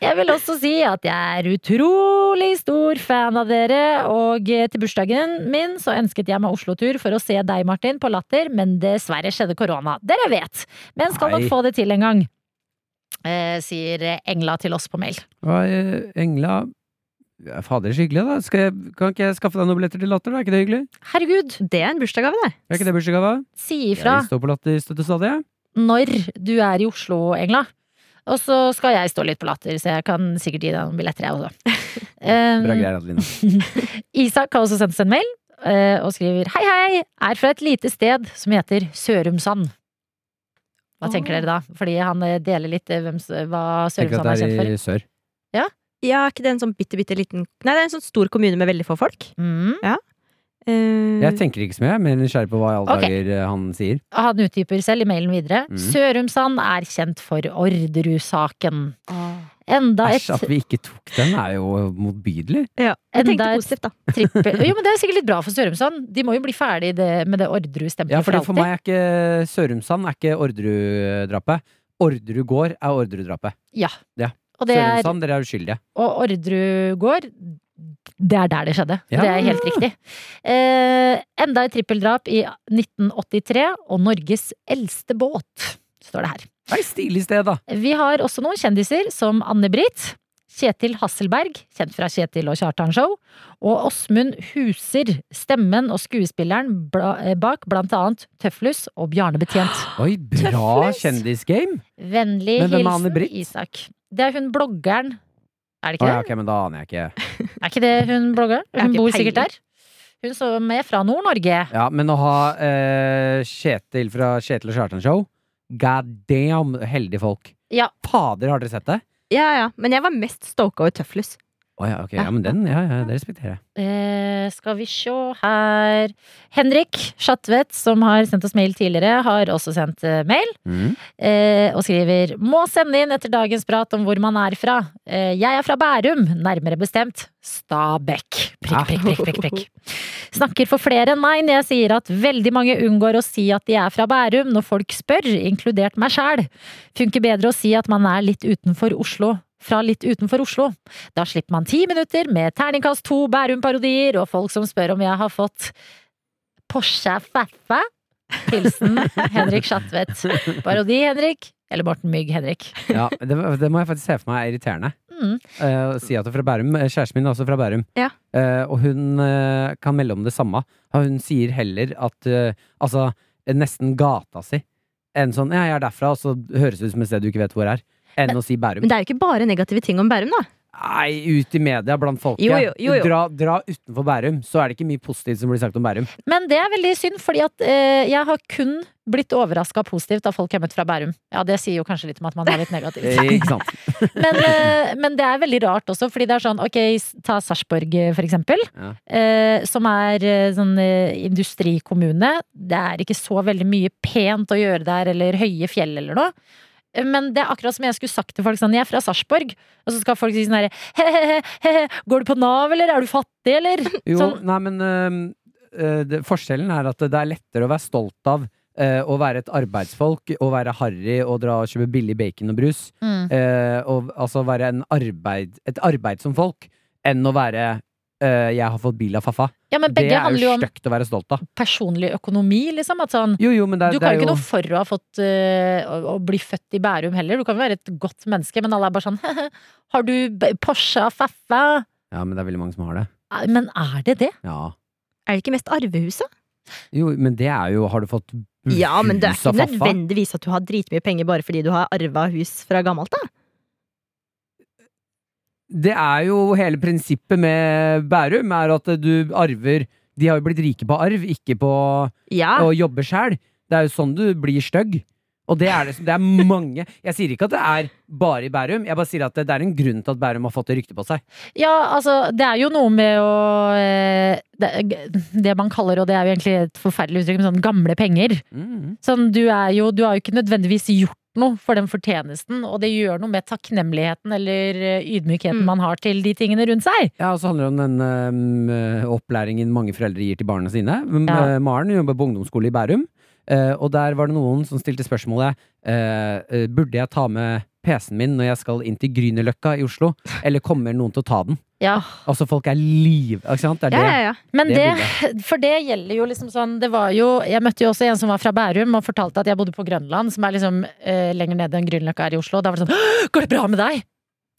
Speaker 2: jeg vil også si at jeg er utrolig stor fan av dere, og eh, til bursdagen min så ønsket jeg meg Oslo-tur for å se deg, Martin, på Latter, men dessverre skjedde korona. Dere vet! Men skal nok
Speaker 3: Nei.
Speaker 2: få det til en gang, eh, sier Engla til oss på mail.
Speaker 3: Hva, eh, Engla ja, Fader, så hyggelig, da. Skal jeg, kan ikke jeg skaffe deg noen billetter til Latter? da? Er ikke det hyggelig?
Speaker 2: Herregud,
Speaker 4: Det er en bursdagsgave, det.
Speaker 3: Er ikke det bursdagsgave?
Speaker 2: si ifra!
Speaker 3: Jeg står på Latter støtte stadig, jeg.
Speaker 2: når du er i Oslo, Engla. Og så skal jeg stå litt på latter, så jeg kan sikkert gi deg noen billetter, jeg også. Um,
Speaker 3: Bra greier, Adelina.
Speaker 2: Isak har også sendt oss en mail eh, og skriver Hei, hei! Er fra et lite sted som heter Sørumsand. Hva tenker
Speaker 4: Åh.
Speaker 2: dere da? Fordi han eh, deler litt eh, hvem, s- hva
Speaker 3: Tenker
Speaker 2: Sørumsand
Speaker 3: at
Speaker 2: er
Speaker 3: det
Speaker 2: kjent
Speaker 3: er
Speaker 2: for.
Speaker 3: i sør.
Speaker 4: Ja, er ikke det en sånn bitte, bitte liten Nei, det er en sånn stor kommune med veldig få folk.
Speaker 2: Mm.
Speaker 4: Eh,
Speaker 3: Jeg tenker ikke så mye, jeg er mer nysgjerrig på hva i alle
Speaker 2: Ok.
Speaker 3: dager eh, han sier.
Speaker 2: Han utdyper selv i mailen videre.
Speaker 3: Mm.
Speaker 2: Sørumsand er kjent for Orderud-saken.
Speaker 4: Ah.
Speaker 2: Enda et
Speaker 3: Æsj, at vi ikke tok den er jo motbydelig.
Speaker 4: ja. Jeg
Speaker 2: Enda
Speaker 4: tenkte
Speaker 2: et-
Speaker 4: positivt, da.
Speaker 2: trippel Jo, men det er sikkert litt bra for Sørumsand. De må jo bli ferdig det, med det Orderud-stempelet
Speaker 3: Ja, fordi
Speaker 2: for
Speaker 3: for
Speaker 2: alltid.
Speaker 3: meg er ikke Sørumsand er ikke Orderud-drapet. Orderud gård er Orderud-drapet.
Speaker 2: Ja.
Speaker 3: Ja.
Speaker 2: Og, det er,
Speaker 3: Sørumsand, dere er uskyldige.
Speaker 2: og Orderud gård, det er der det skjedde.
Speaker 3: Ja.
Speaker 2: Det er helt riktig. Eh, enda et trippeldrap i 1983, og Norges eldste båt, står det her.
Speaker 3: Det er et stilig sted, da.
Speaker 2: Vi har også noen kjendiser som Anne-Britt, Kjetil Hasselberg, kjent fra Kjetil og Kjartan Show, og Åsmund Huser, stemmen og skuespilleren bla- eh, bak blant annet Tøflus og Bjarne Betjent.
Speaker 3: Oi, bra
Speaker 4: Tøfflus.
Speaker 3: kjendisgame!
Speaker 2: Vennlig
Speaker 3: Men hvem er
Speaker 2: hilsen
Speaker 3: Anne-Britt?
Speaker 2: Isak. Det er hun bloggeren Er det
Speaker 3: Å
Speaker 2: ikke
Speaker 3: ja,
Speaker 2: det?
Speaker 3: ok, men da aner jeg ikke.
Speaker 2: Er ikke det hun blogger?
Speaker 4: Jeg har
Speaker 2: Hun
Speaker 4: ikke
Speaker 2: bor sikkert
Speaker 4: peiling.
Speaker 2: der. Hun som er fra Nord-Norge.
Speaker 3: Ja, Men å ha eh, Kjetil fra Kjetil og Kjartan Show God damn, heldige folk.
Speaker 2: Ja.
Speaker 3: Fader, har dere sett det?
Speaker 4: Ja, ja. Men jeg var mest stoka over Tøflus.
Speaker 3: Å ja, ok. Ja, men den, ja, ja, det respekterer jeg.
Speaker 2: Eh, skal vi sjå her Henrik Schatvedt, som har sendt oss mail tidligere, har også sendt eh, mail.
Speaker 3: Mm.
Speaker 2: Eh, og skriver Må sende inn etter dagens prat om hvor man er fra. Eh, jeg er fra Bærum, nærmere bestemt Stabekk. Prikk, prikk, prikk, prikk, prikk. Snakker for flere enn meg når jeg sier at veldig mange unngår å si at de er fra Bærum når folk spør, inkludert meg sjæl. Funker bedre å si at man er litt utenfor Oslo. Fra litt utenfor Oslo. Da slipper man ti minutter med terningkast to Bærum-parodier og folk som spør om jeg har fått Porsche Faffa. Hilsen Henrik Schatvedt. Parodi, Henrik. Eller Morten Mygg, Henrik.
Speaker 3: Ja, det, det må jeg faktisk se for meg er irriterende.
Speaker 2: Mm.
Speaker 3: Eh, og si at det er fra Bærum. Eh, Kjæresten min er også fra Bærum.
Speaker 4: Ja.
Speaker 3: Eh, og hun eh, kan melde om det samme. Og Hun sier heller at eh, Altså, eh, nesten gata si. Enn sånn 'ja, jeg er derfra', og så høres det ut som et sted du ikke vet hvor er. Enn å si Bærum.
Speaker 4: Men det er jo ikke bare negative ting om Bærum, da.
Speaker 3: Nei, ut i media blant folket.
Speaker 4: Jo, jo, jo, jo.
Speaker 3: Dra, dra utenfor Bærum, så er det ikke mye positivt som blir sagt om Bærum.
Speaker 2: Men det er veldig synd, fordi at eh, jeg har kun blitt overraska positivt av folk hjemmet fra Bærum. Ja, det sier jo kanskje litt om at man er litt negativ.
Speaker 3: Eh, ikke sant?
Speaker 2: Men, eh, men det er veldig rart også, fordi det er sånn, ok, s- ta Sarpsborg eh, for eksempel,
Speaker 3: Ja.
Speaker 2: eh, som er eh, sånn eh, industrikommune. Det er ikke så veldig mye pent å gjøre der, eller høye fjell eller noe. Eh, Men det er akkurat som jeg skulle sagt til folk sånn, jeg er fra Sarpsborg, og så skal folk si sånn herre, he-he-he, går du på Nav, eller er du fattig, eller?
Speaker 3: Jo,
Speaker 2: Sånn-
Speaker 3: nei, men eh, eh, det, forskjellen er at det er lettere å være stolt av eh, å være et arbeidsfolk, å være harry og dra og kjøpe billig bacon og brus.
Speaker 2: mm.
Speaker 3: eh, og, altså være en arbeid, et arbeid som folk, enn å være eh, 'jeg har fått bil av faffa'.
Speaker 2: Ja, men
Speaker 3: Det
Speaker 2: begge
Speaker 3: er
Speaker 2: handler jo
Speaker 3: jo
Speaker 2: om
Speaker 3: stygt å være stolt av.
Speaker 2: personlig økonomi, liksom. At sånn
Speaker 3: Jo, jo, men det, er-
Speaker 2: du
Speaker 3: det
Speaker 2: kan jo
Speaker 3: er
Speaker 2: ikke
Speaker 3: jo
Speaker 2: noe for å ha fått eh, å, å bli født i Bærum heller. Du kan jo være et godt menneske, men alle er bare sånn Har du b- Porsche og Faffa?
Speaker 3: Ja, men det er veldig mange som har det.
Speaker 2: Eh, Men er det det?
Speaker 3: Ja.
Speaker 4: Er det ikke mest arvehuset?
Speaker 3: Jo, men det er jo 'har du fått hus
Speaker 4: Ja, men det er
Speaker 3: Mm. av
Speaker 4: ikke
Speaker 3: faffa'?
Speaker 4: nødvendigvis at du har dritmye penger bare fordi du har arva hus fra gammelt, da.
Speaker 3: Det er jo hele prinsippet med Bærum, er at du arver De har jo blitt rike på arv, ikke på
Speaker 2: Ah.
Speaker 4: Ja.
Speaker 3: å jobbe sjæl. Det er jo sånn du blir stygg. Og det er det, som- det er mange Jeg sier ikke at det er bare i Bærum, jeg bare sier at det, det er en grunn til at Bærum har fått det ryktet på seg.
Speaker 2: Ja, altså, det er jo noe med å eh, det, det man kaller, og det er jo egentlig et forferdelig uttrykk, men sånn gamle penger. Sånn, du er jo Du har jo ikke nødvendigvis gjort noe for den fortjenesten, og det gjør noe med takknemligheten eller eh, ydmykheten
Speaker 4: Mm.
Speaker 2: man har til de tingene rundt seg.
Speaker 3: Ja, og så handler det om den eh, m, opplæringen mange foreldre gir til barna sine. M-
Speaker 2: Ja.
Speaker 3: eh, Maren jobber på ungdomsskole i Bærum, eh, og der var det noen som stilte spørsmålet eh, eh, Burde jeg ta med PC-en min når jeg skal inn til Grünerløkka i Oslo, eller kommer noen til å ta den?
Speaker 2: Ja.
Speaker 3: Altså, folk er liv... Ikke sant? Det er
Speaker 4: Ja,
Speaker 3: det.
Speaker 4: ja, ja.
Speaker 2: Men
Speaker 3: Det
Speaker 2: det, for det gjelder jo liksom sånn Det var jo Jeg møtte jo også en som var fra Bærum og fortalte at jeg bodde på Grønland, som er liksom eh, lenger nede enn Grünerløkka er i Oslo. Da var det sånn «Åh, Går det bra med deg?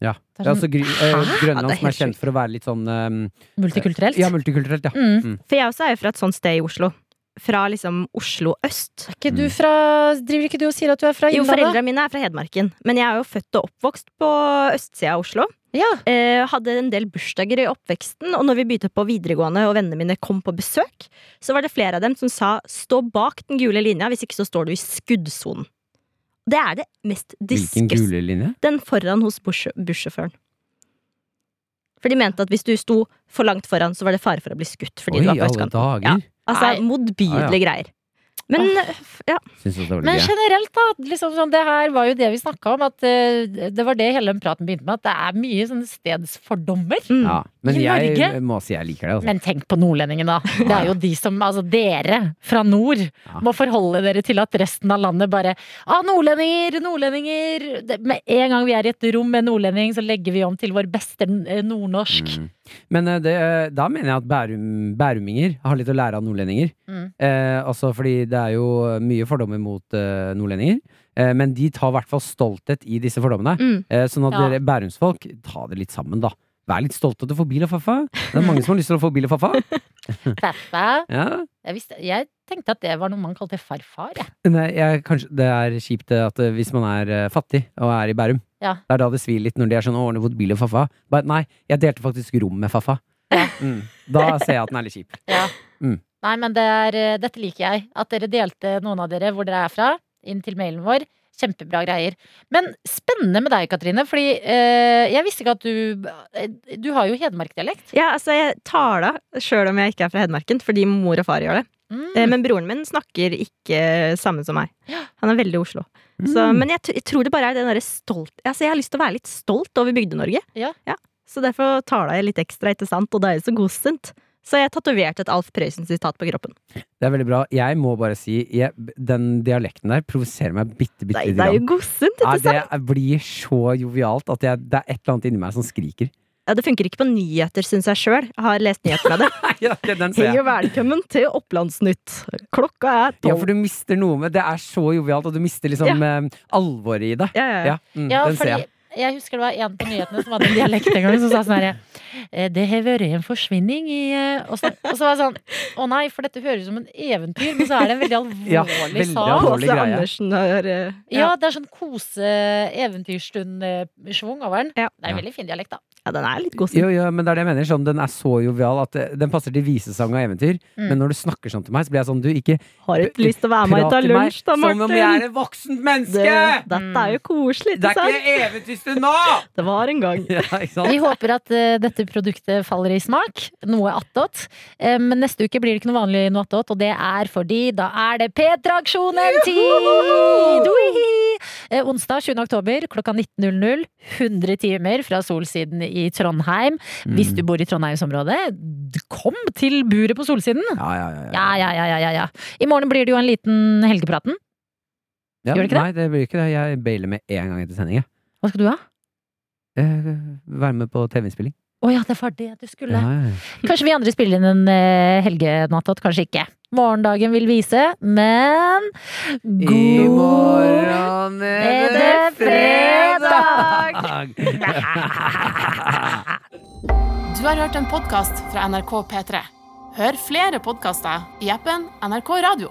Speaker 3: Ja.
Speaker 2: Det er
Speaker 3: Det er
Speaker 2: sånn
Speaker 3: altså Gry eh,
Speaker 4: Ja, det
Speaker 3: Grønland som
Speaker 4: er
Speaker 3: er
Speaker 4: helt
Speaker 3: kjent for å være litt sånn eh,
Speaker 2: multikulturelt.
Speaker 3: Ja, multikulturelt, ja.
Speaker 2: mm.
Speaker 4: For jeg også er jo fra et sånt sted i Oslo. Fra liksom Oslo øst.
Speaker 2: Er ikke du fra Driver ikke du og sier at du er fra
Speaker 4: Jo,
Speaker 2: Innlandet?
Speaker 4: foreldra mine er fra Hedmarken, men jeg er jo født og oppvokst på østsida av Oslo.
Speaker 2: Ja.
Speaker 4: Eh, hadde en del bursdager i oppveksten, og når vi begynte på videregående og vennene mine kom på besøk, så var det flere av dem som sa 'stå bak den gule linja', hvis ikke så står du i skuddsonen. Det er det mest
Speaker 3: Hvilken
Speaker 4: disgust...
Speaker 3: gule linje?
Speaker 4: Den foran hos bussj- bussjåføren. For de mente at hvis du sto for langt foran, så var det fare for å bli skutt. Fordi
Speaker 3: Oi,
Speaker 4: du var på
Speaker 3: alle
Speaker 4: østkanten.
Speaker 3: dager!
Speaker 4: Ja. Altså
Speaker 2: Nei.
Speaker 3: Ah,
Speaker 4: motbydelige greier. Men ja.
Speaker 3: Synes også det var litt
Speaker 2: Men
Speaker 3: gøy.
Speaker 2: generelt, da. Liksom sånn, det her var jo det vi snakka om. At eh, det var det hele den praten begynte med. At det er mye sånne stedsfordommer.
Speaker 4: Mm.
Speaker 3: Ja, men
Speaker 2: I Norge?
Speaker 3: jeg må si jeg liker det. Altså.
Speaker 2: Men tenk på nordlendingen, da. Det er jo de som, altså dere fra nord,
Speaker 3: Ja.
Speaker 2: må forholde dere til at resten av landet bare Ah, nordlendinger! Nordlendinger! Det, med en gang vi er i et rom med en nordlending, så legger vi om til vår beste eh, nordnorsk.
Speaker 3: Mm. Men eh, det, eh, da mener jeg at bærum, bæruminger har litt å lære av nordlendinger.
Speaker 2: Mm.
Speaker 3: Eh, altså fordi det er jo mye fordommer mot eh, nordlendinger. Eh, men de tar i hvert fall stolthet i disse fordommene.
Speaker 4: Mm.
Speaker 3: Eh, sånn at
Speaker 2: Ja.
Speaker 3: dere bærumsfolk, ta det litt sammen, da. Vær litt stolt av at du får bil av faffa. Det er mange som har lyst til å få bil av faffa.
Speaker 2: Faffa.
Speaker 3: Ja.
Speaker 2: Jeg, visste, jeg tenkte at det var noe man kalte farfar, jeg.
Speaker 3: Nei, jeg, kanskje, det er kjipt eh, at eh, hvis man er eh, fattig og er i Bærum,
Speaker 2: Ja.
Speaker 3: det er da det svir litt når de er sånn 'Å, har du fått bil av faffa?' Bare, nei, jeg delte faktisk rom med faffa. Mm. Da ser jeg at den er litt kjip.
Speaker 2: Ja.
Speaker 3: Mm.
Speaker 2: Nei, men det er, eh, dette liker jeg. At dere delte noen av dere hvor dere er fra, inn til mailen vår. Kjempebra greier. Men spennende med deg, Katrine, fordi eh, jeg visste ikke at du eh, Du har jo hedmarkdialekt.
Speaker 4: ja, altså jeg tar det sjøl om jeg ikke er fra Hedmarken, fordi mor og far gjør det.
Speaker 2: Mm.
Speaker 4: Eh, Men broren min snakker ikke samme som meg. Han er veldig Oslo. Så,
Speaker 3: Mm.
Speaker 4: men jeg, t- jeg tror det bare er den derre stolt Altså jeg har lyst til å være litt stolt over Bygde-Norge.
Speaker 2: Ja.
Speaker 4: Så derfor tala jeg litt ekstra, ikke sant? Og det er jo så godsint. Så jeg tatoverte et Alf Prøysen-sitat på kroppen.
Speaker 3: Det er veldig bra. Jeg må bare si, jeg, den dialekten der provoserer meg bitte, bitte
Speaker 4: Nei,
Speaker 3: lite
Speaker 4: det er jo
Speaker 3: grann.
Speaker 4: godsint, ikke
Speaker 3: Nei,
Speaker 4: sant?
Speaker 3: det blir så jovialt at jeg, det er et eller annet inni meg som skriker.
Speaker 4: Ja, det funker ikke på nyheter, syns jeg sjøl. Har lest nyheter med det.
Speaker 3: Ja, den ser
Speaker 4: Hei og
Speaker 3: jeg.
Speaker 4: velkommen til Opplandsnytt. Klokka er
Speaker 3: Ja, for
Speaker 4: tolv.
Speaker 3: du mister noe med Det er så jovialt, og du mister liksom eh, alvoret i det.
Speaker 4: Ja, ja, ja.
Speaker 3: Ja, mm,
Speaker 2: Ja,
Speaker 3: den ser
Speaker 2: fordi
Speaker 3: jeg.
Speaker 2: jeg husker det var en på nyhetene som hadde en dialekt en gang, som sa sånn herre eh, Det har vært en forsvinning i eh», og så, og så var jeg sånn Å nei, for dette høres ut som en eventyr, men så er det en veldig alvorlig
Speaker 3: Ja, veldig
Speaker 2: sak.
Speaker 3: alvorlig.
Speaker 4: Åse
Speaker 3: greie.
Speaker 4: Andersen har eh,
Speaker 2: Ja, det er sånn kose-eventyrstund-schwung over den.
Speaker 4: Ja.
Speaker 2: Det er
Speaker 3: Ja.
Speaker 2: en veldig fin dialekt, da.
Speaker 4: ja, den er litt god.
Speaker 3: Jo, jo, men det er det jeg mener. Sånn, den er så jovial at eh, den passer til visesang og eventyr.
Speaker 2: Mm.
Speaker 3: Men når du snakker sånn til meg, så blir jeg sånn Du, ikke
Speaker 4: Har ikke lyst til å være med og
Speaker 3: prat
Speaker 4: ta
Speaker 3: til meg
Speaker 4: lunsj, da,
Speaker 3: som om
Speaker 4: Martin.
Speaker 3: jeg er et voksent
Speaker 4: Det,
Speaker 3: menneske!
Speaker 4: dette er jo koselig,
Speaker 3: Det
Speaker 4: ikke
Speaker 3: er
Speaker 4: sant?
Speaker 3: ikke eventyrstund nå!
Speaker 4: Det var en gang.
Speaker 3: Ja, ikke sant?
Speaker 2: Vi håper at eh, dette produktet faller i smak. Noe attåt. Eh, Men neste uke blir det ikke noe vanlig noe attåt, og det er fordi da er det P-traksjonen-tid! Uihi! Eh, Onsdag 20. oktober klokka 19.00. 100 timer fra Solsiden i Trondheim.
Speaker 3: Mm.
Speaker 2: Hvis du bor i Trondheimsområdet, d- kom til buret på Solsiden!
Speaker 3: Ja, ja, ja.
Speaker 2: Ja, ja, ja, ja, ja, ja. I morgen blir det jo en liten Helgepraten.
Speaker 3: Ja,
Speaker 2: Gjør det ikke det?
Speaker 3: Nei, det blir ikke det. Jeg bailer med en gang etter sending. jeg.
Speaker 2: Hva skal du ha?
Speaker 3: Eh, være med på TV-innspilling.
Speaker 2: Å ja, det var det du skulle.
Speaker 3: Ja, ja, ja.
Speaker 2: Kanskje vi andre spiller inn en eh, helgenattat, kanskje ikke. Morgendagen vil vise, men
Speaker 3: I
Speaker 2: god
Speaker 3: morgen
Speaker 2: er det fredag!
Speaker 1: Du har hørt en podkast fra NRK P3. Hør flere podkaster i appen NRK Radio.